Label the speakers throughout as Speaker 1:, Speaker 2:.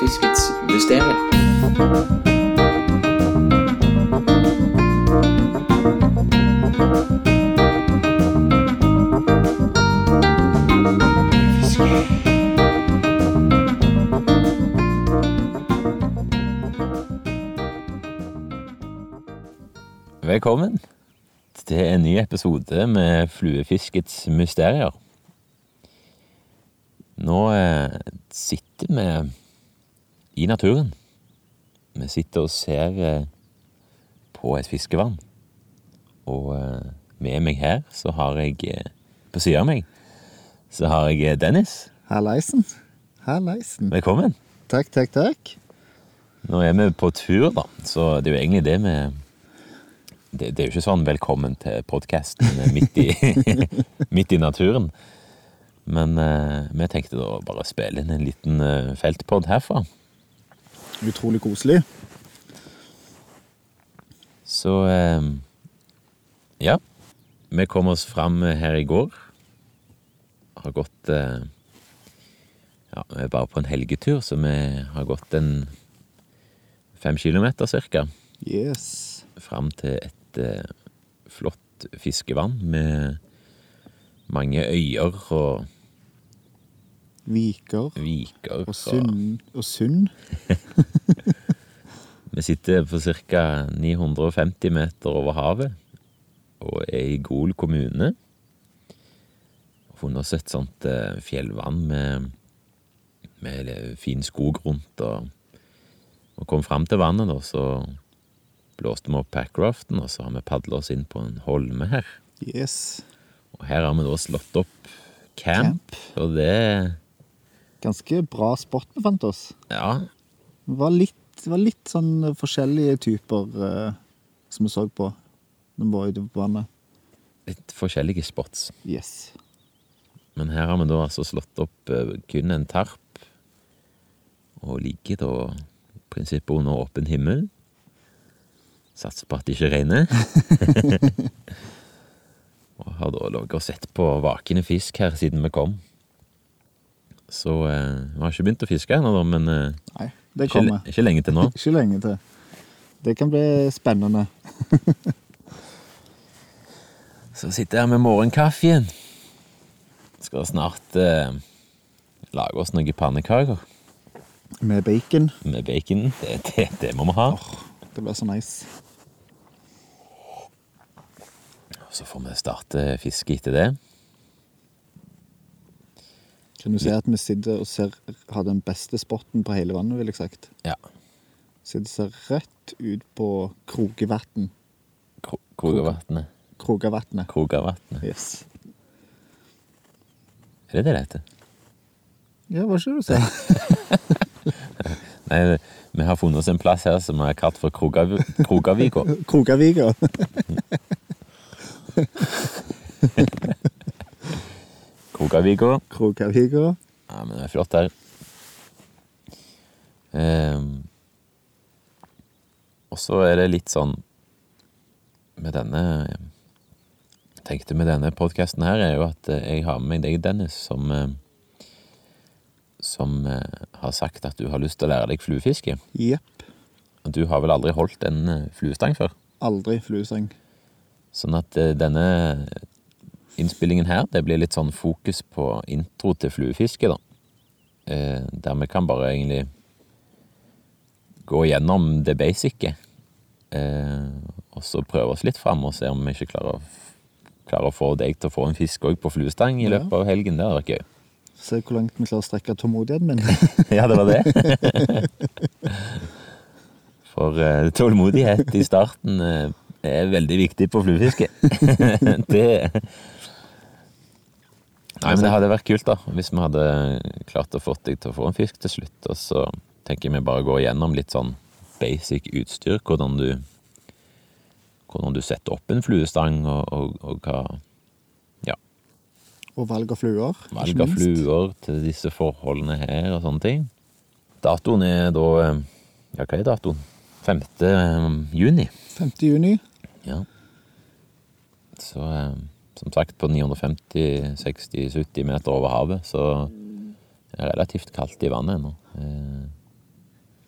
Speaker 1: tilskuddssystemet.
Speaker 2: Velkommen til en ny episode med Fluefiskets mysterier. Nå eh, sitter vi i naturen. Vi sitter og ser eh, på et fiskevann. Og eh, med meg her så har jeg eh, På siden av meg så har jeg eh, Dennis.
Speaker 3: Halleisen. Halleisen.
Speaker 2: Velkommen.
Speaker 3: Takk, takk, takk.
Speaker 2: Nå er vi på tur, da. Så det er jo egentlig det vi det, det er jo ikke sånn 'velkommen til podkasten' midt, i- midt i naturen. Men eh, vi tenkte da å bare spille inn en liten eh, feltpod herfra.
Speaker 3: Utrolig koselig.
Speaker 2: Så eh, ja. Vi kom oss fram her i går. Har gått eh, Ja, vi er bare på en helgetur, så vi har gått en fem kilometer cirka.
Speaker 3: Yes.
Speaker 2: fram til et eh, flott fiskevann med mange øyer og
Speaker 3: Viker
Speaker 2: viker.
Speaker 3: og sund. Og sund.
Speaker 2: Vi sitter på ca. 950 meter over havet og er i Gol kommune. Og funnet oss et sånt eh, fjellvann med, med fin skog rundt. Og, og kom fram til vannet, da, så blåste vi opp packraften, og så har vi padla oss inn på en holme her.
Speaker 3: Yes.
Speaker 2: Og her har vi da slått opp camp, og det
Speaker 3: Ganske bra spot vi fant oss.
Speaker 2: Ja,
Speaker 3: Det var litt, det var litt sånn forskjellige typer eh, som vi så på når vi var ute på vannet.
Speaker 2: litt forskjellige spots.
Speaker 3: Yes.
Speaker 2: Men her har vi da altså slått opp eh, kun en tarp, og ligger da i prinsippet under åpen himmel. Satser på at det ikke regner. og har da ligget og sett på vakende fisk her siden vi kom. Så eh, vi har ikke begynt å fiske ennå, da, men eh,
Speaker 3: Nei, det
Speaker 2: ikke,
Speaker 3: kommer.
Speaker 2: ikke lenge til nå.
Speaker 3: Ikke lenge til. Det kan bli spennende.
Speaker 2: Så sitter jeg her med morgenkaffen. Skal snart eh, lage oss noen pannekaker
Speaker 3: Med bacon.
Speaker 2: med bacon. Det, det, det må vi ha.
Speaker 3: Det blir så nice.
Speaker 2: Så får vi starte fisket etter det.
Speaker 3: Kan du si at vi sitter og ser, har den beste spotten på hele vannet, vil jeg sagt.
Speaker 2: Ja.
Speaker 3: Så det ser rett ut på Krogevatn.
Speaker 2: Kro- Krogavatnet.
Speaker 3: Krogavatnet.
Speaker 2: Krogavatnet.
Speaker 3: Yes.
Speaker 2: Er det det det heter?
Speaker 3: Ja, hva skal du si?
Speaker 2: Nei, vi har funnet oss en plass her som vi har kalt for Krogav Krogavika.
Speaker 3: Krogaviga.
Speaker 2: Krogavika.
Speaker 3: Krogaviga.
Speaker 2: Ja, men det er flott her. Ehm, og så er det litt sånn Med denne jeg tenkte med denne podkasten her, er jo at eh, jeg har med meg deg, Dennis, som eh, Som eh, har sagt at du har lyst til å lære deg fluefiske.
Speaker 3: Jepp.
Speaker 2: Og du har vel aldri holdt en eh, fluestang før?
Speaker 3: Aldri flueseng.
Speaker 2: Sånn at eh, denne innspillingen her, det blir litt sånn fokus på intro til fluefiske, da. Eh, der vi kan bare egentlig gå gjennom det basice. Eh, og så prøve oss litt fram og se om vi ikke klarer å, f- klarer å få deg til å få en fisk òg på fluestang i
Speaker 3: Ja.
Speaker 2: løpet av helgen. Det hadde vært gøy.
Speaker 3: Se hvor langt vi klarer å strekke tålmodigheten min.
Speaker 2: Ja, det var det. For eh, tålmodighet i starten eh, er veldig viktig på fluefiske. det Nei, men det hadde vært kult, da, hvis vi hadde klart å få deg til å få en fisk til slutt. Og så tenker jeg vi bare går gjennom litt sånn basic utstyr, hvordan du hvordan du setter opp en fluestang, og, og, og hva Ja,
Speaker 3: Og valg av fluer. ikke
Speaker 2: Valg av
Speaker 3: minst.
Speaker 2: fluer til disse forholdene her og sånne ting. Datoen er da eh, Ja, hva er datoen? 5. eh, juni.
Speaker 3: 5. juni.
Speaker 2: Ja. Så eh, som sagt, på 950-60-70 meter over havet, så er det relativt kaldt i vannet ennå. Eh,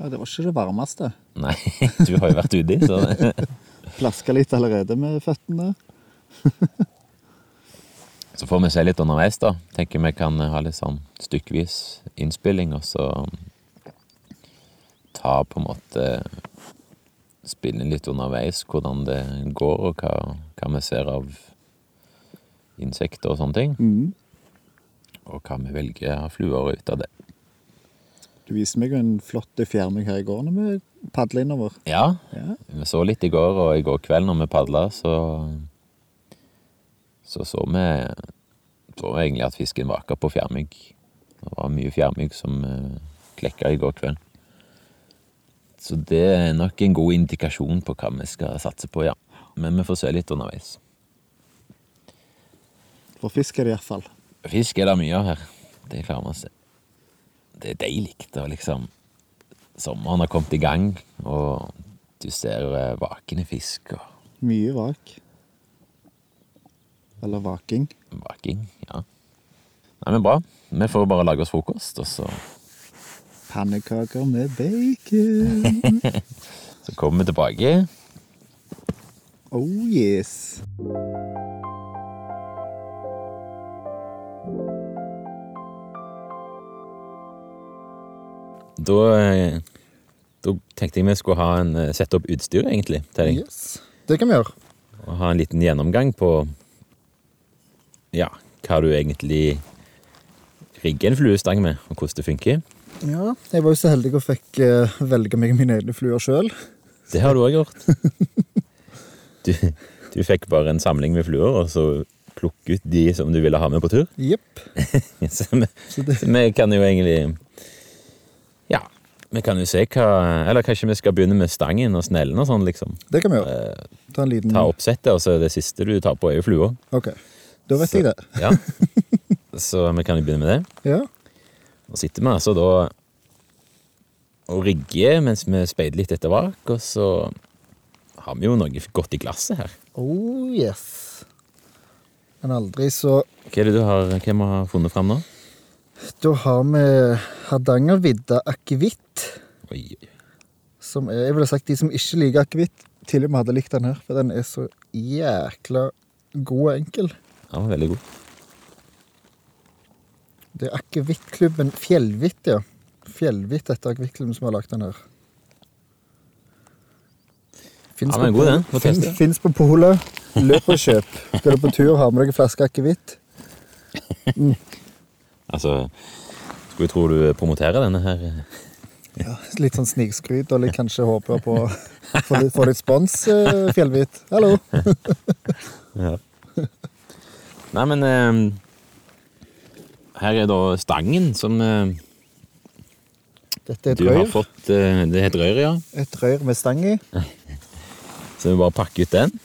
Speaker 4: Ja, det var ikke det varmeste.
Speaker 2: Nei, du har jo vært uti, så
Speaker 4: Plaska litt allerede med føttene.
Speaker 2: Så får vi se litt underveis, da. Tenker vi kan ha litt sånn stykkvis innspilling, og så ta på en måte Spille litt underveis hvordan det går, og hva, hva vi ser av insekter og sånne ting.
Speaker 4: Mhm.
Speaker 2: Og hva vi velger av fluer ut av det.
Speaker 4: Du viste meg jo en flott fjærmygg her i går når vi padla innover.
Speaker 2: Ja,
Speaker 4: Ja.
Speaker 2: vi så litt i går, og i går kveld når vi padla, så Så så vi så vi egentlig at fisken vaka på fjærmygg. Det var mye fjærmygg som eh, klekka i går kveld. Så det er nok en god indikasjon på hva vi skal satse på, ja. Men vi får se litt underveis.
Speaker 4: For fisk er det iallfall.
Speaker 2: Fisk er det mye av her. Det klarer man seg. Det er deilig å liksom Sommeren har kommet i gang, og du ser eh, vakende fisk og
Speaker 4: Mye vak. Eller vaking.
Speaker 2: Baking, ja. Nei, men bra. Vi får bare lage oss frokost, og så,
Speaker 4: Pannekaker med bacon.
Speaker 2: så kommer vi tilbake.
Speaker 4: Oh yes.
Speaker 2: Da, eh, da tenkte jeg vi skulle ha en, eh, sette opp utstyr, egentlig, til deg.
Speaker 3: Yes. Det kan vi gjøre.
Speaker 2: Og ha en liten gjennomgang på ja, hva du egentlig rigger en fluestang med, og hvordan det funker.
Speaker 3: Ja, jeg var jo så heldig og fikk eh, velge meg mine egne fluer sjøl.
Speaker 2: Det har du òg gjort. Du, du fikk bare en samling med fluer, og så plukke ut de som du ville ha med på tur.
Speaker 3: Jepp.
Speaker 2: Så vi,
Speaker 3: Så det-
Speaker 2: så vi kan jo egentlig Ja, vi kan jo se hva Eller kanskje vi skal begynne med stangen og snellen og sånn, liksom.
Speaker 3: Det kan vi gjøre. Ta en liten
Speaker 2: Ta oppsettet, og så det siste du tar på, er jo flua.
Speaker 3: Ok. Da vet
Speaker 2: Så-
Speaker 3: jeg det.
Speaker 2: Ja. Så vi kan jo begynne med det.
Speaker 3: Ja.
Speaker 2: Og sitter vi altså da og rigger mens vi speider litt etter vrak, og så har vi jo noe godt i glasset her.
Speaker 3: Oh yes. Men aldri så
Speaker 2: Hva er det du har, hvem har funnet fram nå?
Speaker 3: Da har vi Hardangervidda akevitt.
Speaker 2: Oi, oi.
Speaker 3: Som er, jeg ville sagt de som ikke liker akevitt, til og med hadde likt den her. For den er så jækla god og enkel.
Speaker 2: Den var veldig god.
Speaker 3: Det er Akevittklubben Fjellhvitt, ja. Fjellhvitt etter Akevittklubben som har lagd den her. Fins
Speaker 2: Ja, den er god, den. Må teste.
Speaker 3: Fins på polet. Løp og kjøp. Skal du på tur, ha med deg en flaske akevitt.
Speaker 2: Altså, skulle tro du promoterer denne her.
Speaker 3: Ja, litt sånn snikskryt og litt kanskje håper på å få litt, få litt spons, eh, Fjellhvitt. Hallo.
Speaker 2: Ja. Nei, men eh, Her er da stangen som eh,
Speaker 3: Dette er et
Speaker 2: du har
Speaker 3: røyr.
Speaker 2: fått. eh, det heter rør, ja.
Speaker 3: Et røyr med stang i.
Speaker 2: Så vi bare pakker ut den.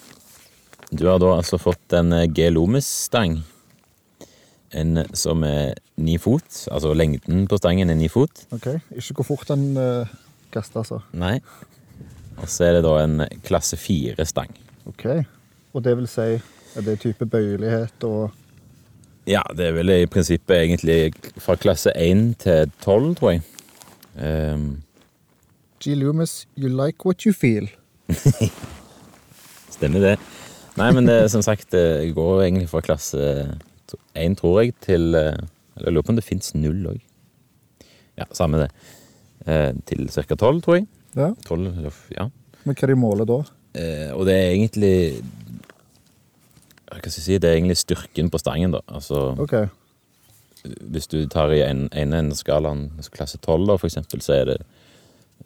Speaker 2: Du har da altså fått en eh, gelomus-stang. En eh, som er ni fot. Altså lengden på stangen er ni fot.
Speaker 3: Ok, Ikke hvor fort den uh, kaster, altså.
Speaker 2: Nei. Og så er det da en eh, klasse fire-stang.
Speaker 3: Ok. Og det vil si er det type bøyelighet og
Speaker 2: Ja, det er vel i prinsippet egentlig fra klasse 1 til 12, tror jeg. Ehm,
Speaker 3: G. Loomis, you like what you feel.
Speaker 2: stemmer det. Nei, men det, som sagt, det går egentlig fra klasse 1, tror jeg, til eh, Eller jeg lurer på om det fins null òg. Ja, samme det. Eh, Til ca. 12, tror jeg.
Speaker 3: Ja,
Speaker 2: 12, eller f- ja.
Speaker 3: Men hva de måler da?
Speaker 2: Eh, Og det er egentlig Hva skal jeg si? Det er egentlig styrken på stangen, da. Altså,
Speaker 3: Ok.
Speaker 2: hvis du tar i en en enden av skalaen, altså klasse 12 da, for eksempel, så er det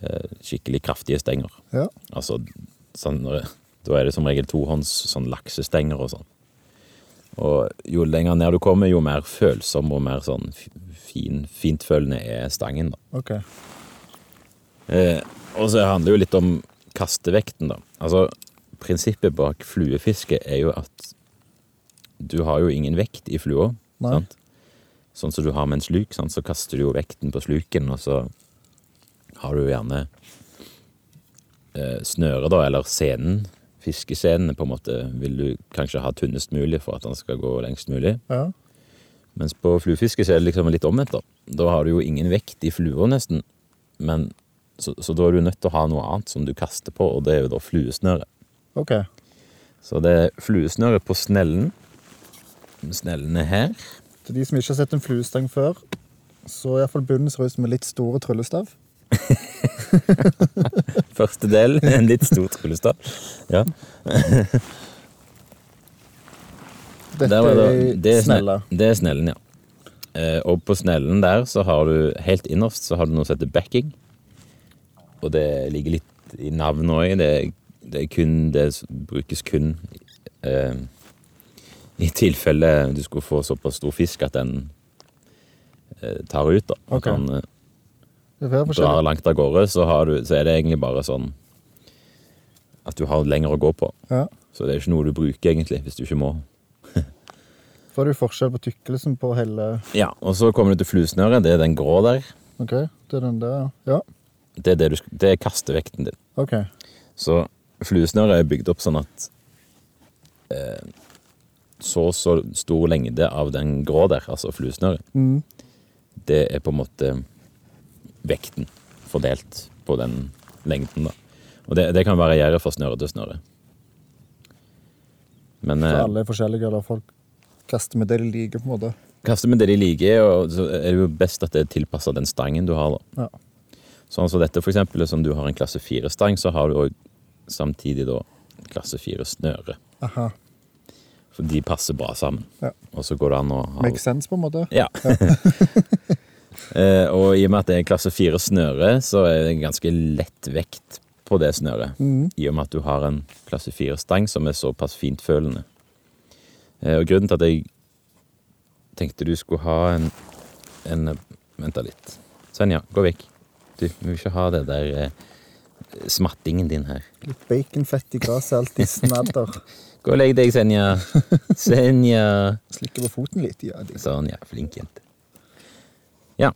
Speaker 2: eh, skikkelig kraftige stenger.
Speaker 3: Ja.
Speaker 2: Altså, sånn, eh, da er det som regel tohånds sånn laksestenger og sånn. Og jo lenger ned du kommer, jo mer følsom og mer sånn f- fin, fintfølende er stangen, da.
Speaker 3: Ok.
Speaker 2: Eh, og så handler det jo litt om kastevekten, da. Altså, prinsippet bak fluefiske er jo at du har jo ingen vekt i flua.
Speaker 3: Nei.
Speaker 2: Sant? Sånn som du har med en sluk, sant? så kaster du jo vekten på sluken, og så har du jo gjerne eh, snøret, da, eller scenen. Fiskescenene, på en måte, vil du kanskje ha tynnest mulig for at den skal gå lengst mulig.
Speaker 3: Ja.
Speaker 2: Mens på fluefiske så er det liksom litt omvendt. Da Da har du jo ingen vekt i flua nesten, men Så, så da er du nødt til å ha noe annet som du kaster på, og det er jo da fluesnøre.
Speaker 1: OK.
Speaker 2: Så det er fluesnøre på snellen. Snellen er her.
Speaker 1: Til de som ikke har sett en fluestang før, så er iallfall bunnen ser ut som en litt store tryllestav.
Speaker 2: Første del, en litt stor tryllestav. Ja.
Speaker 1: Dette
Speaker 2: Der var
Speaker 1: er
Speaker 2: det er
Speaker 1: snella.
Speaker 2: sne- Det er snellen, ja. Eh, og på snellen der så har du helt innerst så har du noe som heter backing. Og det ligger litt i navnet òg. Det, er- det er kun Det s- brukes kun eh, i tilfelle du skulle få såpass stor fisk at den eh, tar ut, da.
Speaker 1: Ok.
Speaker 2: At den eh,
Speaker 1: Det er flere
Speaker 2: drar
Speaker 1: forskjellige.
Speaker 2: langt av gårde, så, har du, så er det egentlig bare sånn at du har lenger å gå på.
Speaker 1: Ja.
Speaker 2: Så det er ikke noe du bruker, egentlig, hvis du ikke må.
Speaker 1: Så er det jo forskjell på tykkelsen på hele
Speaker 2: Ja, og så kommer du til fluesnøret. Det er den grå der.
Speaker 1: OK, det er den der, ja. Ja,
Speaker 2: Det er, det du, sk- det er kastevekten din.
Speaker 1: OK.
Speaker 2: Så fluesnøret er bygd opp sånn at eh, så og så stor lengde av den grå der, altså fluesnøret,
Speaker 1: Mm.
Speaker 2: det er på en måte vekten fordelt på den lengden, da. Og det, det kan variere fra snøre til snøre. Men
Speaker 1: Så
Speaker 2: eh,
Speaker 1: alle er forskjellige, eller folk kaster med det de liker, på en måte.
Speaker 2: kaste med det de liker, og så er det jo best at det er tilpassa den stangen du har, da.
Speaker 1: Ja.
Speaker 2: Sånn som dette, for eksempel, som du har en klasse 4-stang, så har du òg samtidig da klasse 4-snøre.
Speaker 1: Aha.
Speaker 2: For de passer bra sammen.
Speaker 1: Ja.
Speaker 2: Og så går det an å ha
Speaker 1: Makes sense, på en måte.
Speaker 2: Ja. Eh, og i og med at det er klasse 4-snøre, så er det ganske lett vekt på det snøret. I og med at du har en klasse 4-stang som er såpass fintfølende. Eh, og grunnen til at jeg tenkte du skulle ha en, en Vent da litt. Sånn, ja. Gå vekk. Du vi vil ikke ha det der eh, smattingen din her.
Speaker 1: Litt baconfett i glasset er alltid snadder.
Speaker 2: Gå og legg deg, Senja. Senja.
Speaker 1: Slikker på foten litt, ja. De.
Speaker 2: Sånn, ja. Flink jente. Ja.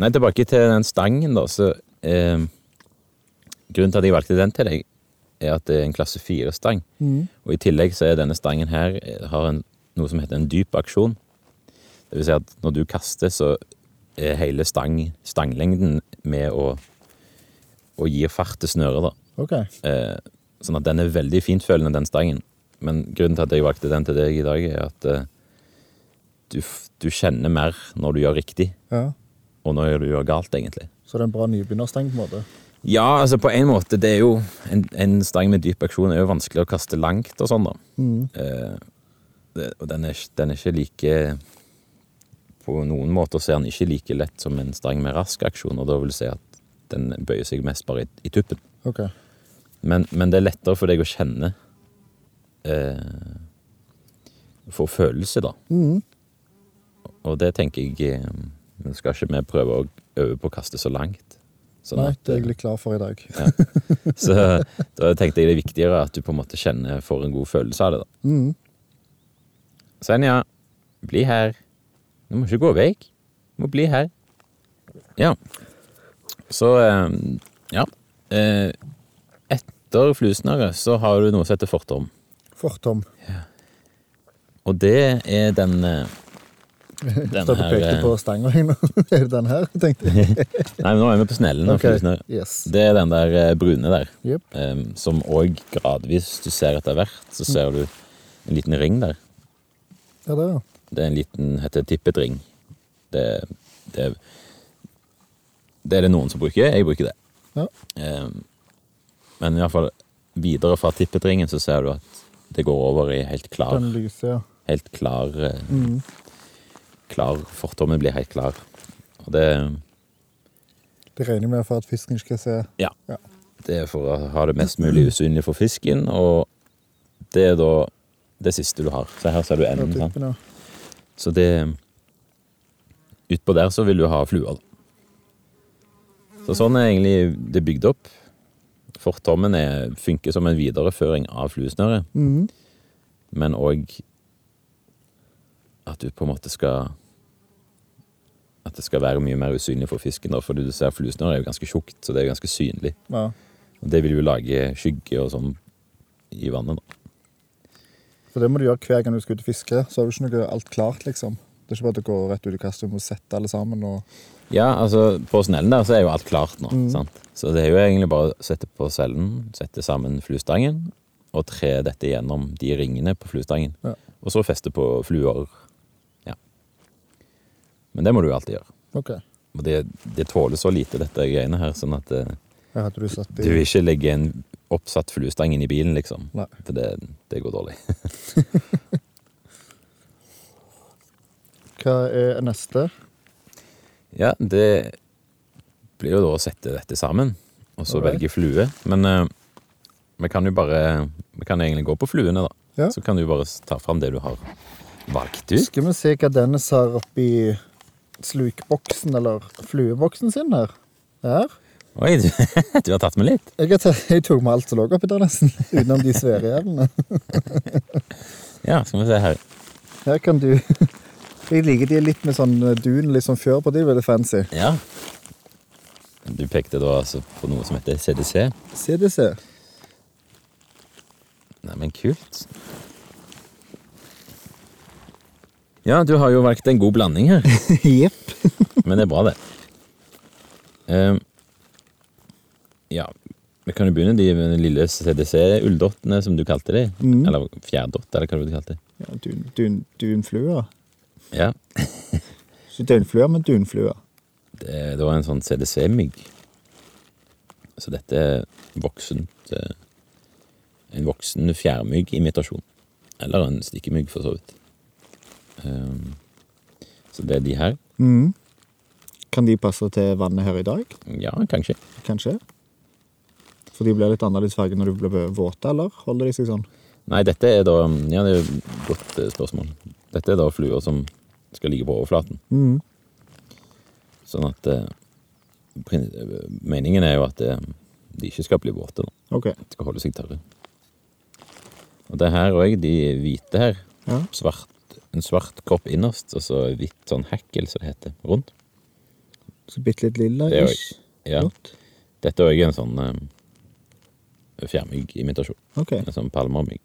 Speaker 2: Nei, tilbake til den stangen, da. Så eh, grunnen til at jeg valgte den til deg, er at det er en klasse fire-stang.
Speaker 1: Mm.
Speaker 2: Og i tillegg så er denne stangen her eh, har en, noe som heter en dyp aksjon. Det vil si at når du kaster, så er hele stang, stanglengden med å og gir fart til snøret, da.
Speaker 1: OK.
Speaker 2: Eh, sånn at den er veldig fintfølende, den stangen. Men grunnen til at jeg valgte den til deg i dag, er at eh, du, f- du kjenner mer når du gjør riktig,
Speaker 1: Ja.
Speaker 2: og når du gjør galt, egentlig.
Speaker 1: Så det er en bra nybegynnerstang, på en måte.
Speaker 2: Ja, altså på en måte, det er jo En, en stang med dyp aksjon er jo vanskelig å kaste langt og sånn, da. Eh, det, og den er, ikke- den er ikke like På noen måter så er den ikke like lett som en stang med rask aksjon, og da vil jeg si at den bøyer seg mest bare i, i tuppen.
Speaker 1: OK.
Speaker 2: Men, men det er lettere for deg å kjenne eh, Få følelse, da.
Speaker 1: Mm.
Speaker 2: Og det tenker jeg eh, Nå skal ikke vi prøve å øve på å kaste så langt. Sånn
Speaker 1: Nei,
Speaker 2: at,
Speaker 1: det er jeg litt klar for i dag.
Speaker 2: så da tenkte jeg det er viktigere at du på en måte kjenner får en god følelse av det. da.
Speaker 1: Mm.
Speaker 2: Senja, bli her. Du må ikke gå vekk. Du må bli her. Ja. Så eh, Ja. Eh, etter fluesnøret så har du noe som heter fortom.
Speaker 1: Fortom.
Speaker 2: Og det er den eh, Den
Speaker 1: Da du
Speaker 2: her
Speaker 1: pekte
Speaker 2: eh,
Speaker 1: på stanga nå. Er det den her, tenkte jeg?
Speaker 2: Nei, nå er vi på snellen. og
Speaker 1: Ok,
Speaker 2: fluesnøret.
Speaker 1: Yes.
Speaker 2: Det er den der eh, brune der.
Speaker 1: Jep.
Speaker 2: eh, som òg gradvis Du ser etter hvert, så ser du en liten ring der.
Speaker 1: Ja, der, ja.
Speaker 2: Det er en liten heter tippetring. Det, det, det er det noen som bruker. Jeg bruker det.
Speaker 1: Ja.
Speaker 2: Eh, Men i hvert fall videre fra tippetringen så ser du at det går over i helt klar,
Speaker 1: Den lyse, ja.
Speaker 2: helt klar, eh,
Speaker 1: Mm.
Speaker 2: klar Fortommen blir helt klar. Og det,
Speaker 1: Det regner jeg med for at fisken ikke skal se.
Speaker 2: ja,
Speaker 1: Ja.
Speaker 2: det er for å ha det mest mulig usynlig for fisken, og det er da det siste du har. Så her ser du
Speaker 1: den
Speaker 2: enden. sant?
Speaker 1: typen, ja.
Speaker 2: Så det Utpå der så vil du ha flua, da. Så sånn er egentlig det bygd opp. Fortommen er, funker som en videreføring av fluesnøret,
Speaker 1: Mm.
Speaker 2: men òg at du på en måte skal At det skal være mye mer usynlig for fisken, da, for du ser fluesnøret er jo ganske tjukt, så det er jo ganske synlig.
Speaker 1: ja.
Speaker 2: Og det vil jo lage skygge og sånn i vannet, da.
Speaker 1: For det må du gjøre hver gang du skal ut og fiske. Så har du ikke noe alt klart, liksom.
Speaker 3: Det er ikke bare at det går rett ut i kastet, du må sette alle sammen og
Speaker 2: Ja, altså på snellen der så er jo alt klart nå,
Speaker 3: Mm.
Speaker 2: sant? Så det er jo egentlig bare å sette på cellen, sette sammen fluestangen, og tre dette gjennom de ringene på fluestangen.
Speaker 3: Ja.
Speaker 2: Og så feste på fluer. Ja. Men det må du jo alltid gjøre.
Speaker 3: OK.
Speaker 2: Og det, det tåler så lite, dette greiene her, sånn at eh,
Speaker 3: Her hadde du satt
Speaker 2: du
Speaker 3: i
Speaker 2: vil ikke legge en oppsatt fluestang inn i bilen, liksom.
Speaker 3: Nei.
Speaker 2: For det, det går dårlig.
Speaker 3: Hva er neste?
Speaker 2: Ja, det blir jo da å sette dette sammen, og så
Speaker 3: Alright.
Speaker 2: velge flue. Men eh, vi kan jo bare Vi kan egentlig gå på fluene, da.
Speaker 3: Ja.
Speaker 2: Så kan du bare s- ta fram det du har valgt ut.
Speaker 3: Skal vi se hva Dennis har oppi slukboksen, eller flueboksen sin her. Her.
Speaker 2: Oi, du, du har tatt med litt.
Speaker 3: Jeg, har tatt, jeg tok med alt som lå oppi der, nesten. Utenom de svære jævlene.
Speaker 2: Ja, skal vi se her.
Speaker 3: Her kan du Jeg liker de litt med sånn dun, litt sånn fjør på de, veldig fancy.
Speaker 2: Ja. Du pekte da altså på noe som heter CDC.
Speaker 3: CDC.
Speaker 2: Nei, men kult. Ja, du har jo valgt en god blanding her.
Speaker 3: Jepp.
Speaker 2: Men det er bra, det. Ehm, ja, vi kan jo begynne de med de lille CDC-ulldottene, som du kalte de.
Speaker 3: Mhm.
Speaker 2: Eller fjærdott, eller hva det var du kalte de.
Speaker 3: Ja, dun, dun, dunfluer.
Speaker 2: Ja,
Speaker 3: Ikke døgnfluer, men dunfluer.
Speaker 2: det, det var en sånn CDC-mygg. Så dette er voksent eh, En voksen fjærmyggimitasjon. Eller en stikkemygg, for så vidt. Ehm, så det er de her.
Speaker 3: Mhm. Kan de passe til vannet her i dag?
Speaker 2: Ja, kanskje.
Speaker 3: Kanskje? For de blir litt annerledes farge når de blir våte, eller holder de seg sånn?
Speaker 2: Nei, dette er da Ja, det er jo et godt eh, spørsmål. Dette er da fluer som skal ligge på overflaten.
Speaker 3: Mhm.
Speaker 2: Sånn at eh, prin- eh, Meningen er jo at eh, de ikke skal bli våte. da.
Speaker 3: Ok.
Speaker 2: De skal holde seg tørre. Og det her òg, de hvite her.
Speaker 3: Ja.
Speaker 2: Svart, en svart kropp innerst, og så hvitt sånn hekkel, som det heter, rundt.
Speaker 3: Så bitte litt lilla.
Speaker 2: Det er jo-
Speaker 3: ish.
Speaker 2: Ja.
Speaker 3: Flott.
Speaker 2: Dette er òg en sånn eh, fjærmyggimitasjon.
Speaker 3: Ok.
Speaker 2: En sånn palmermygg,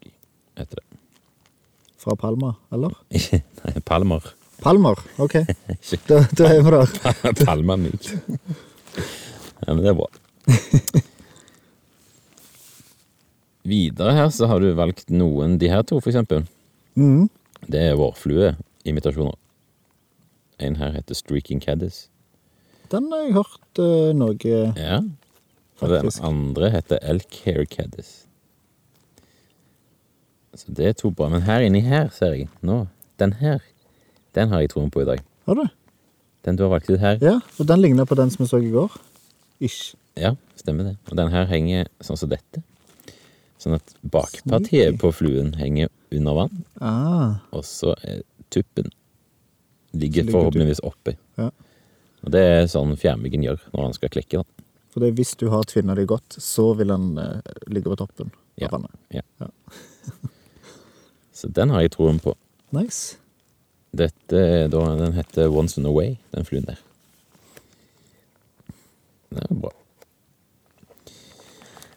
Speaker 2: heter det.
Speaker 3: Fra Palma, eller?
Speaker 2: Ikke Nei, palmer.
Speaker 3: Palmer! Ok. Da, da er vi der.
Speaker 2: Palmamygg. Ja, men det er bra. Videre her så har du valgt noen de her to, for eksempel.
Speaker 3: Mhm.
Speaker 2: Det er vårflueimitasjoner. En her heter Streaking Caddis.
Speaker 3: Den har jeg hørt eh, noe
Speaker 2: Ja. Og den
Speaker 3: Faktisk.
Speaker 2: andre heter Elk Hair Caddis. Så det er to bra. Men her inni her, ser jeg nå, den her, den har jeg troen på i dag.
Speaker 3: Har du?
Speaker 2: Den du har valgt ut her,
Speaker 3: Ja, og den ligner på den som vi så i går. Ish.
Speaker 2: Ja, stemmer det. Og den her henger sånn som dette. Sånn at bakpartiet
Speaker 3: Sneaky.
Speaker 2: på fluen henger under vann,
Speaker 3: Ah,
Speaker 2: og så er tuppen ligger,
Speaker 3: ligger
Speaker 2: forhåpentligvis oppi.
Speaker 3: Ja.
Speaker 2: Og det er sånn fjærmyggen gjør når han skal klikke. Da.
Speaker 3: for det er hvis du har tvinna deg godt, så vil den eh, ligge på toppen
Speaker 2: Ja.
Speaker 3: av vannet.
Speaker 2: Så den har jeg troen på.
Speaker 3: Nice.
Speaker 2: Dette er da, Den heter Once in a Way, den fluen der. Det er bra.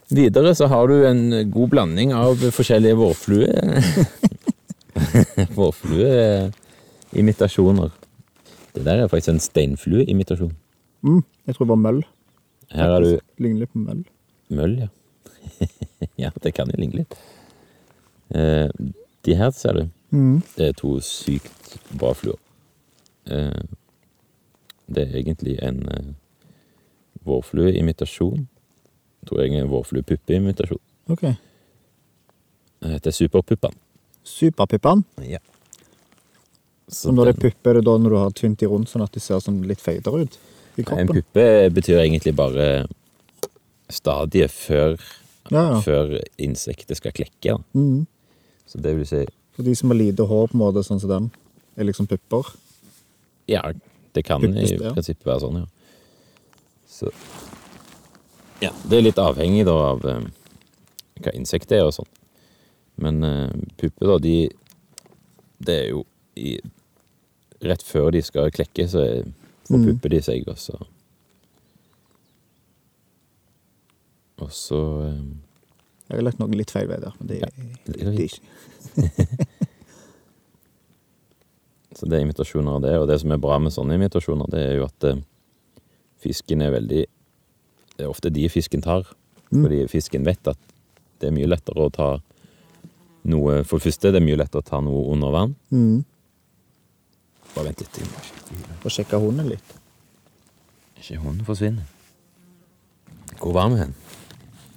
Speaker 2: Videre så har du en god blanding av forskjellige vårflue. Vårflueimitasjoner. Det der er faktisk en steinflueimitasjon.
Speaker 3: Mm, jeg tror det var møll.
Speaker 2: Her har du
Speaker 3: Ligner litt på møll.
Speaker 2: møll, ja. ja, det kan jo ligne litt. Eh, de her, ser du.
Speaker 3: Mm.
Speaker 2: Det er to sykt bra fluer. Eh, Det er egentlig en eh, vårflueimitasjon. Jeg tror egentlig en vårfluepuppeimitasjon.
Speaker 3: Ok.
Speaker 2: Den heter Superpuppan.
Speaker 3: Superpippan.
Speaker 2: Ja.
Speaker 3: Så når det er puppe, er det da når du har tynt de rundt, sånn at de ser sånn litt feitere ut i
Speaker 2: En
Speaker 3: kroppen?
Speaker 2: puppe betyr egentlig bare stadiet før,
Speaker 3: Ja, ja.
Speaker 2: før insektet skal klekke. Da.
Speaker 3: Mm.
Speaker 2: Så det vil si
Speaker 3: For de som har lite hår, på en måte, sånn som den, er liksom pupper.
Speaker 2: Ja, det kan i
Speaker 3: Puppes, ja.
Speaker 2: prinsippet være sånn, ja. Så Ja, det er litt avhengig da av eh, hva insektet er og sånn. Men eh, pupper, da, de Det er jo i Rett før de skal klekke, så er- får
Speaker 3: Mm.
Speaker 2: pupper de seg, og så Og så eh,
Speaker 3: Jeg har lagt noe litt feil vei der, men det,
Speaker 2: Ja,
Speaker 3: det,
Speaker 2: det er
Speaker 3: er
Speaker 2: fint.
Speaker 3: ikke
Speaker 2: Så det er imitasjoner av det. Og det som er bra med sånne imitasjoner, det er jo at eh, fisken er veldig Det er ofte de fisken tar. Fordi fisken vet at det er mye lettere å ta noe For det første, det er mye lettere å ta noe under vann.
Speaker 3: Mm.
Speaker 2: Bare vent litt. jeg må ikke-
Speaker 3: Og sjekke hunden litt.
Speaker 2: Ikke hunden forsvinner. Hvor var vi hen?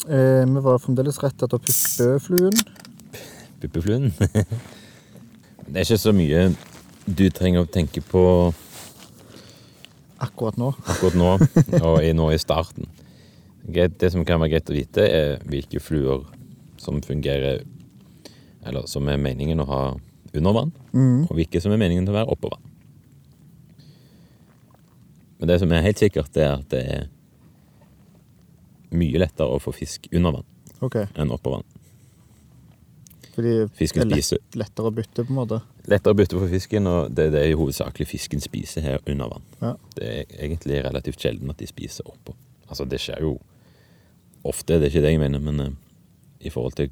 Speaker 1: Eh, vi var fremdeles rett etter puppefluen.
Speaker 2: Puppefluen? det er ikke så mye du trenger å tenke på
Speaker 1: Akkurat nå.
Speaker 2: akkurat nå, og i, nå i starten. Greit- Det som kan være greit å vite, er hvilke fluer som fungerer Eller som er meningen å ha under vann, og hvilke som er meningen til å være oppå vann. Men det som er helt sikkert, det er at det er mye lettere å få fisk under vann
Speaker 1: Ok.
Speaker 2: enn oppå vann.
Speaker 1: Fordi
Speaker 2: Fisken
Speaker 1: det er
Speaker 2: spiser
Speaker 1: lett, lettere å bytte, på en måte.
Speaker 2: Lettere å bytte for fisken, og det er det hovedsakelig fisken spiser her under vann.
Speaker 1: Ja.
Speaker 2: Det er egentlig relativt sjelden at de spiser oppå. Altså, det skjer jo ofte, det er ikke det jeg mener, men eh, i forhold til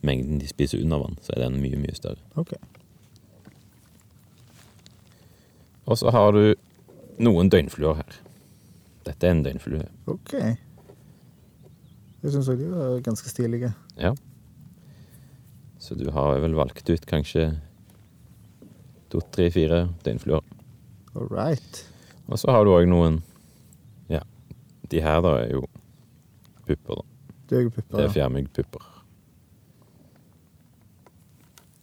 Speaker 2: mengden de spiser under vann, så er den mye, mye større.
Speaker 1: Ok.
Speaker 2: Og så har du noen døgnfluer her. Dette er en døgnflue.
Speaker 1: Ok. Jeg syns òg de var ganske stilige.
Speaker 2: Ja. Så du har vel valgt ut kanskje to, tre, fire døgnfluer.
Speaker 1: All right.
Speaker 2: Og så har du òg noen Ja, de her da er jo pupper, da.
Speaker 1: Du er jo pupper.
Speaker 2: Det er
Speaker 1: ja.
Speaker 2: fjærmyggpupper.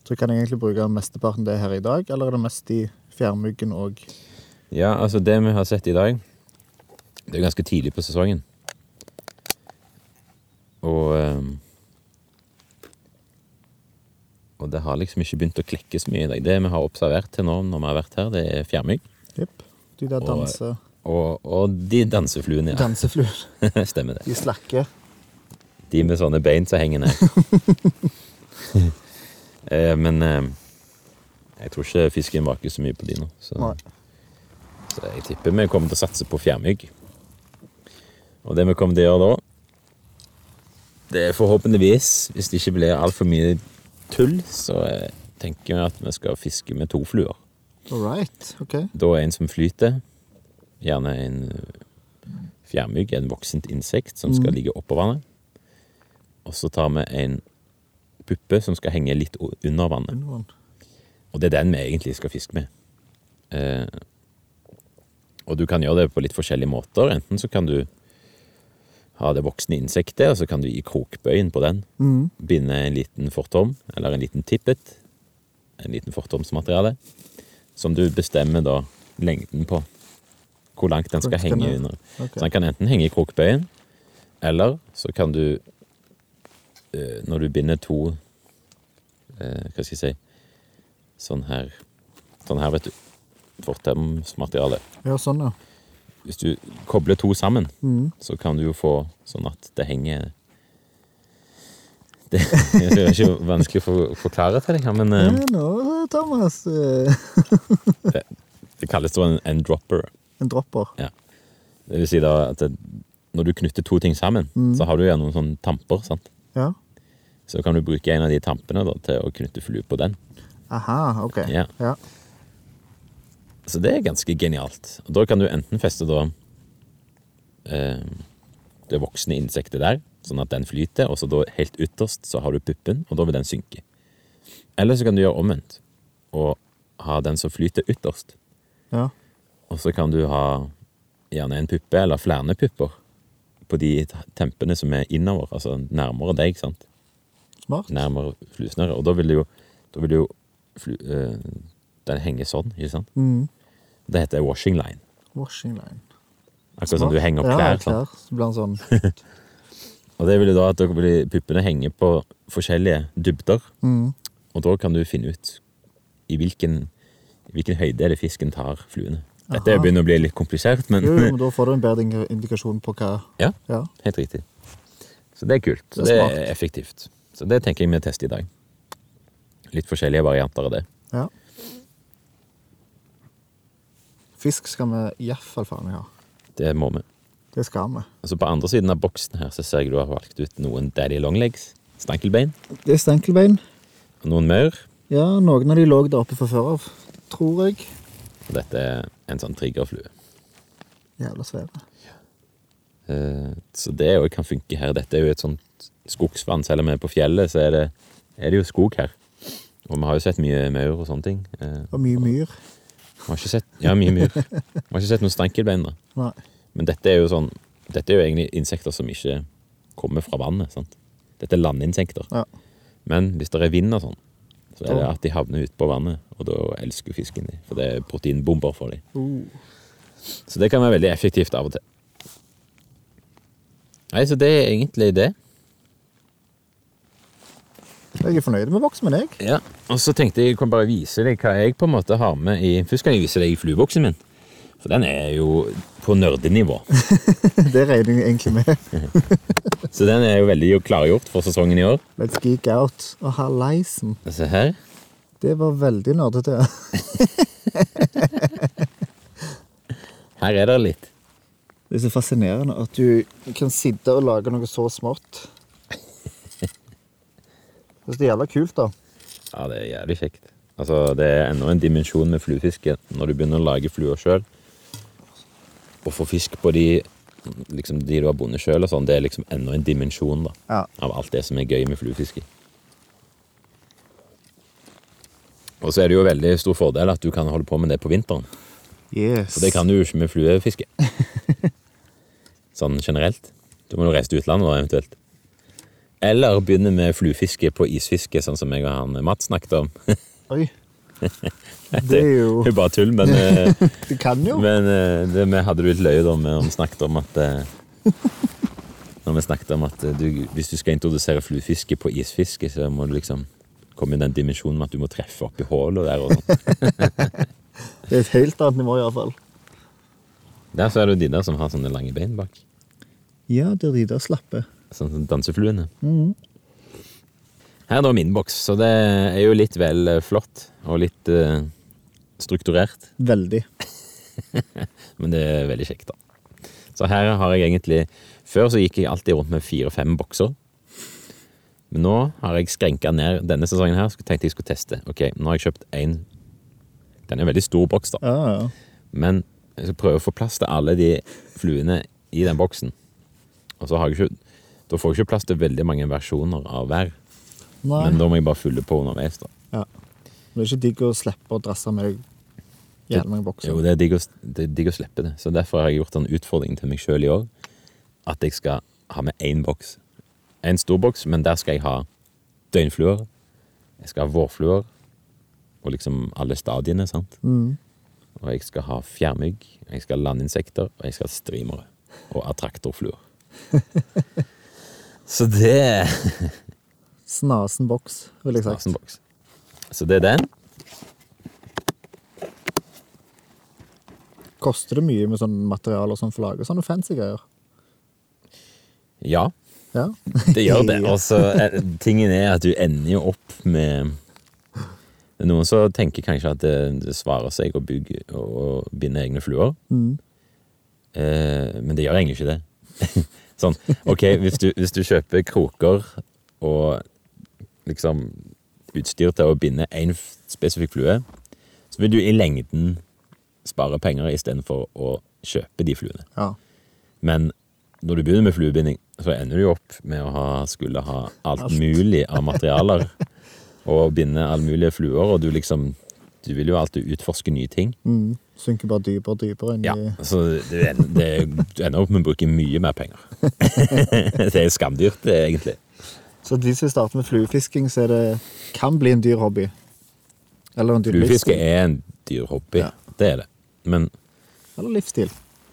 Speaker 1: Så kan jeg egentlig bruke mesteparten det her i dag, eller er det mest i fjærmyggen og
Speaker 2: Ja, altså det vi har sett i dag Det er ganske tidlig på sesongen Og ehm, Og det har liksom ikke begynt å klekke så mye i dag Det vi har observert til nå når vi har vært her Det er fjærmygg
Speaker 1: Jepp. De der
Speaker 2: Og-
Speaker 1: danse...
Speaker 2: og, og de dansefluene, ja
Speaker 1: dansefluer.
Speaker 2: Stemmer det
Speaker 1: De slakke.
Speaker 2: De med sånne bein som henger ned Eh, Men ehm, Jeg tror ikke fisken vaker så mye på de nå så.
Speaker 1: Nei.
Speaker 2: Så jeg tipper vi kommer til å satse på fjærmygg. Og det vi kommer til å gjøre da, det er forhåpentligvis, hvis det ikke blir altfor mye tull, så eh, tenker vi at vi skal fiske med to fluer.
Speaker 1: All right. Ok.
Speaker 2: Da er en som flyter, gjerne en eh, fjærmygg, en voksent insekt som skal ligge oppå vannet. Og så tar vi en puppe som skal henge litt o- under vannet.
Speaker 1: Undervann.
Speaker 2: Og det er den vi egentlig skal fiske med. Eh, og du kan gjøre det på litt forskjellige måter. Enten så kan du ha det voksne insektet, og så kan du gi krokbøyen på den.
Speaker 1: Mm.
Speaker 2: Binde en liten fortom, eller en liten tippet. En liten fortomsmateriale. Som du bestemmer da lengden på. Hvor langt den skal
Speaker 1: Hvor skal
Speaker 2: henge
Speaker 1: den-
Speaker 2: under.
Speaker 1: Ok.
Speaker 2: Så den kan enten henge i krokbøyen, eller så kan du eh, Når du binder to eh, Hva skal jeg si Sånn her, sånn her vet du. Fortemsmateriale.
Speaker 1: Ja, sånn, ja.
Speaker 2: Hvis du kobler to sammen,
Speaker 1: Mm.
Speaker 2: så kan du jo få sånn at det henger Det det er ikke vanskelig å for- forklare til deg, her, men
Speaker 1: Ja,
Speaker 2: eh,
Speaker 3: Mm.
Speaker 1: nå, Thomas. eh,
Speaker 2: det kalles da en, en dropper.
Speaker 1: En dropper.
Speaker 2: Det vil si da at det, når du knytter to ting sammen, så har du gjerne noen sånne tamper. sant?
Speaker 1: Ja.
Speaker 2: Så kan du bruke en av de tampene da, til å knytte flue på den.
Speaker 1: Aha, ok.
Speaker 2: Ja.
Speaker 1: Ja.
Speaker 2: Så det er ganske genialt. Og da kan du enten feste da eh, det voksne insektet der, sånn at den flyter, og så da helt ytterst så har du puppen, og da vil den synke. Eller så kan du gjøre omvendt, og ha den som flyter ytterst.
Speaker 1: ja.
Speaker 2: Og så kan du ha gjerne en puppe, eller flere pupper, på de t- tempene som er innover, altså nærmere deg, sant?
Speaker 1: Smart.
Speaker 2: Nærmere flusnøret. Og da vil det jo, da vil det jo flu, eh, den henge sånn, ikke sant?
Speaker 1: Mm.
Speaker 2: Det heter washing line.
Speaker 1: Washing line.
Speaker 2: Akkurat som du henger opp
Speaker 1: Ja,
Speaker 2: klær.
Speaker 1: ja,
Speaker 2: sant?
Speaker 1: klær. Så blir den sånn
Speaker 2: Og det vil jo da at dere blir, puppene henger på forskjellige dybder,
Speaker 1: mm.
Speaker 2: og da kan du finne ut i hvilken, i hvilken høyde er det fisken tar fluene. Dette
Speaker 1: Aha.
Speaker 2: begynner å bli litt komplisert, men
Speaker 1: Jo, jo, men da får du en bedre indi- indikasjon på hva
Speaker 2: ja,
Speaker 1: Ja.
Speaker 2: helt riktig. Så det er kult.
Speaker 1: Det er
Speaker 2: Så det er
Speaker 1: smart.
Speaker 2: effektivt. Så det tenker jeg vi tester i dag. Litt forskjellige varianter av det.
Speaker 1: ja. Fisk skal vi iallfall faen meg ha.
Speaker 2: Det må vi.
Speaker 1: Det skal vi.
Speaker 2: Altså på andre siden av boksen her så ser jeg du har valgt ut noen daddy longlegs, stankelbein,
Speaker 1: Det er stenkelbein.
Speaker 2: og noen maur.
Speaker 1: Ja, noen av de lå der oppe fra før av,
Speaker 3: tror jeg.
Speaker 2: Og dette er en sånn triggerflue.
Speaker 3: Jævla svære.
Speaker 2: Eh, Så det òg kan funke her. Dette er jo et sånt skogsvann. Selv om vi er på fjellet, så er det, er det jo skog her. Og vi har jo sett mye maur og sånne ting. Eh,
Speaker 3: Og mye myr.
Speaker 2: Vi har ikke sett, ja, mye myr. Vi har ikke sett noen stankelbein. da.
Speaker 3: Nei.
Speaker 2: Men dette er jo sånn Dette er jo egentlig insekter som ikke kommer fra vannet. sant? Dette er landinsekter.
Speaker 3: Ja.
Speaker 2: Men hvis det er vind og sånn, så er det at de havner ute på vannet, og da elsker jo fisken de, for det er proteinbomber for dem.
Speaker 1: Uh.
Speaker 3: Oh.
Speaker 2: Så det kan være veldig effektivt av og til. Nei, så det er egentlig det.
Speaker 3: Jeg er fornøyd med voksen, jeg.
Speaker 2: Ja. Og så tenkte jeg jeg kan bare vise deg hva jeg på en måte har med i Først kan jeg vise deg flueboksen min. For den er jo på nerdenivå.
Speaker 3: Det regner jeg egentlig med.
Speaker 2: Så den er jo veldig klargjort for sesongen i år.
Speaker 3: Let's geek out. Å, halleisen.
Speaker 2: Se her.
Speaker 3: Det var veldig nerdete.
Speaker 2: Her er det litt.
Speaker 3: Det er så fascinerende at du kan sitte og lage noe så smått. Jeg synes Det er jævla kult, da.
Speaker 2: Ja, det er jævlig kjekt. Altså, det er enda en dimensjon med fluefiske når du begynner å lage fluer sjøl. Å få fisk på de, liksom, de du har bundet sjøl og sånn, det er liksom enda en dimensjon da,
Speaker 3: Ja.
Speaker 2: av alt det som er gøy med fluefiske. Og så er det jo veldig stor fordel at du kan holde på med det på vinteren.
Speaker 3: Yes.
Speaker 2: For det kan du jo ikke med fluefiske. Sånn generelt. Da må du reise til utlandet da, eventuelt. Eller begynne med fluefiske på isfiske, sånn som jeg og han Mats snakket om.
Speaker 3: Oi. Det er
Speaker 2: Det
Speaker 3: jo
Speaker 2: er bare tull, men, eh,
Speaker 3: Du kan jo.
Speaker 2: men eh, det, vi hadde det litt løye da med om vi snakket om at eh, Når vi snakket om at eh, du, hvis du skal introdusere fluefiske på isfiske, så må du liksom komme i den dimensjonen med at du må treffe oppi hullet der og sånn.
Speaker 3: Det er et helt annet nivå, iallfall.
Speaker 2: Der så er det jo de der som har sånne lange bein bak.
Speaker 3: Ja, det er de der slappe.
Speaker 2: Sånn som dansefluene. Her er da min boks, så det er jo litt vel eh, flott og litt eh, strukturert.
Speaker 3: Veldig.
Speaker 2: Men det er veldig kjekt, da. Så her har jeg egentlig Før så gikk jeg alltid rundt med fire-fem bokser. Men nå har jeg skrenka ned denne sesongen her, så tenkte jeg skulle teste. Ok, Nå har jeg kjøpt én Den er en veldig stor boks, da.
Speaker 3: Ja, ja.
Speaker 2: Men jeg skal prøve å få plass til alle de fluene i den boksen. Og så har jeg ikke Da får jeg ikke plass til veldig mange versjoner av hver.
Speaker 3: Nei.
Speaker 2: Men da må jeg bare fylle på underveis, da.
Speaker 3: Ja. Det er ikke digg å slippe å drasse med jævlig mange bokser.
Speaker 2: Jo, det er digg å, det er digg å slippe det. Så derfor har jeg gjort en utfordring til meg sjøl i år. At jeg skal ha med én boks. En stor boks, men der skal jeg ha døgnfluer. Jeg skal ha vårfluer. Og liksom alle stadiene, sant. Og jeg skal ha fjærmygg. Jeg skal ha landinsekter. Og jeg skal ha streamere. Og attraktorfluer. Så det er
Speaker 3: Snasen boks, vil jeg sagt.
Speaker 2: en boks. Så det er den.
Speaker 3: Koster det mye med sånn materiale og sånn for å lage sånne fancy greier?
Speaker 2: Ja.
Speaker 3: Ja.
Speaker 2: Det gjør det.
Speaker 3: Ja.
Speaker 2: Og så er- tingen er at du ender jo opp med Det er Noen som tenker kanskje at det, det svarer seg å bygge og binde egne fluer. Eh, men det gjør egentlig ikke det. sånn, ok, hvis du, hvis du kjøper kroker og liksom utstyr til å binde én f- spesifikk flue, så vil du i lengden spare penger istedenfor å kjøpe de fluene.
Speaker 3: ja.
Speaker 2: Men når du begynner med fluebinding, så ender du jo opp med å ha, skulle ha alt
Speaker 3: Alt.
Speaker 2: mulig av materialer. og binde alle mulige fluer, og du liksom Du vil jo alltid utforske nye ting.
Speaker 3: Mm. Synker bare dypere og dypere inn
Speaker 2: Ja,
Speaker 3: i
Speaker 2: Så det, ender- det, du ender opp med å bruke mye mer penger. det er skamdyrt, det, egentlig.
Speaker 3: Så de som starter med fluefisking, så er det kan bli en dyr hobby. Eller en dyr
Speaker 2: Fluefiske
Speaker 3: livsstil.
Speaker 2: er en dyr hobby.
Speaker 3: Ja.
Speaker 2: Det er det. Men
Speaker 3: Eller livsstil.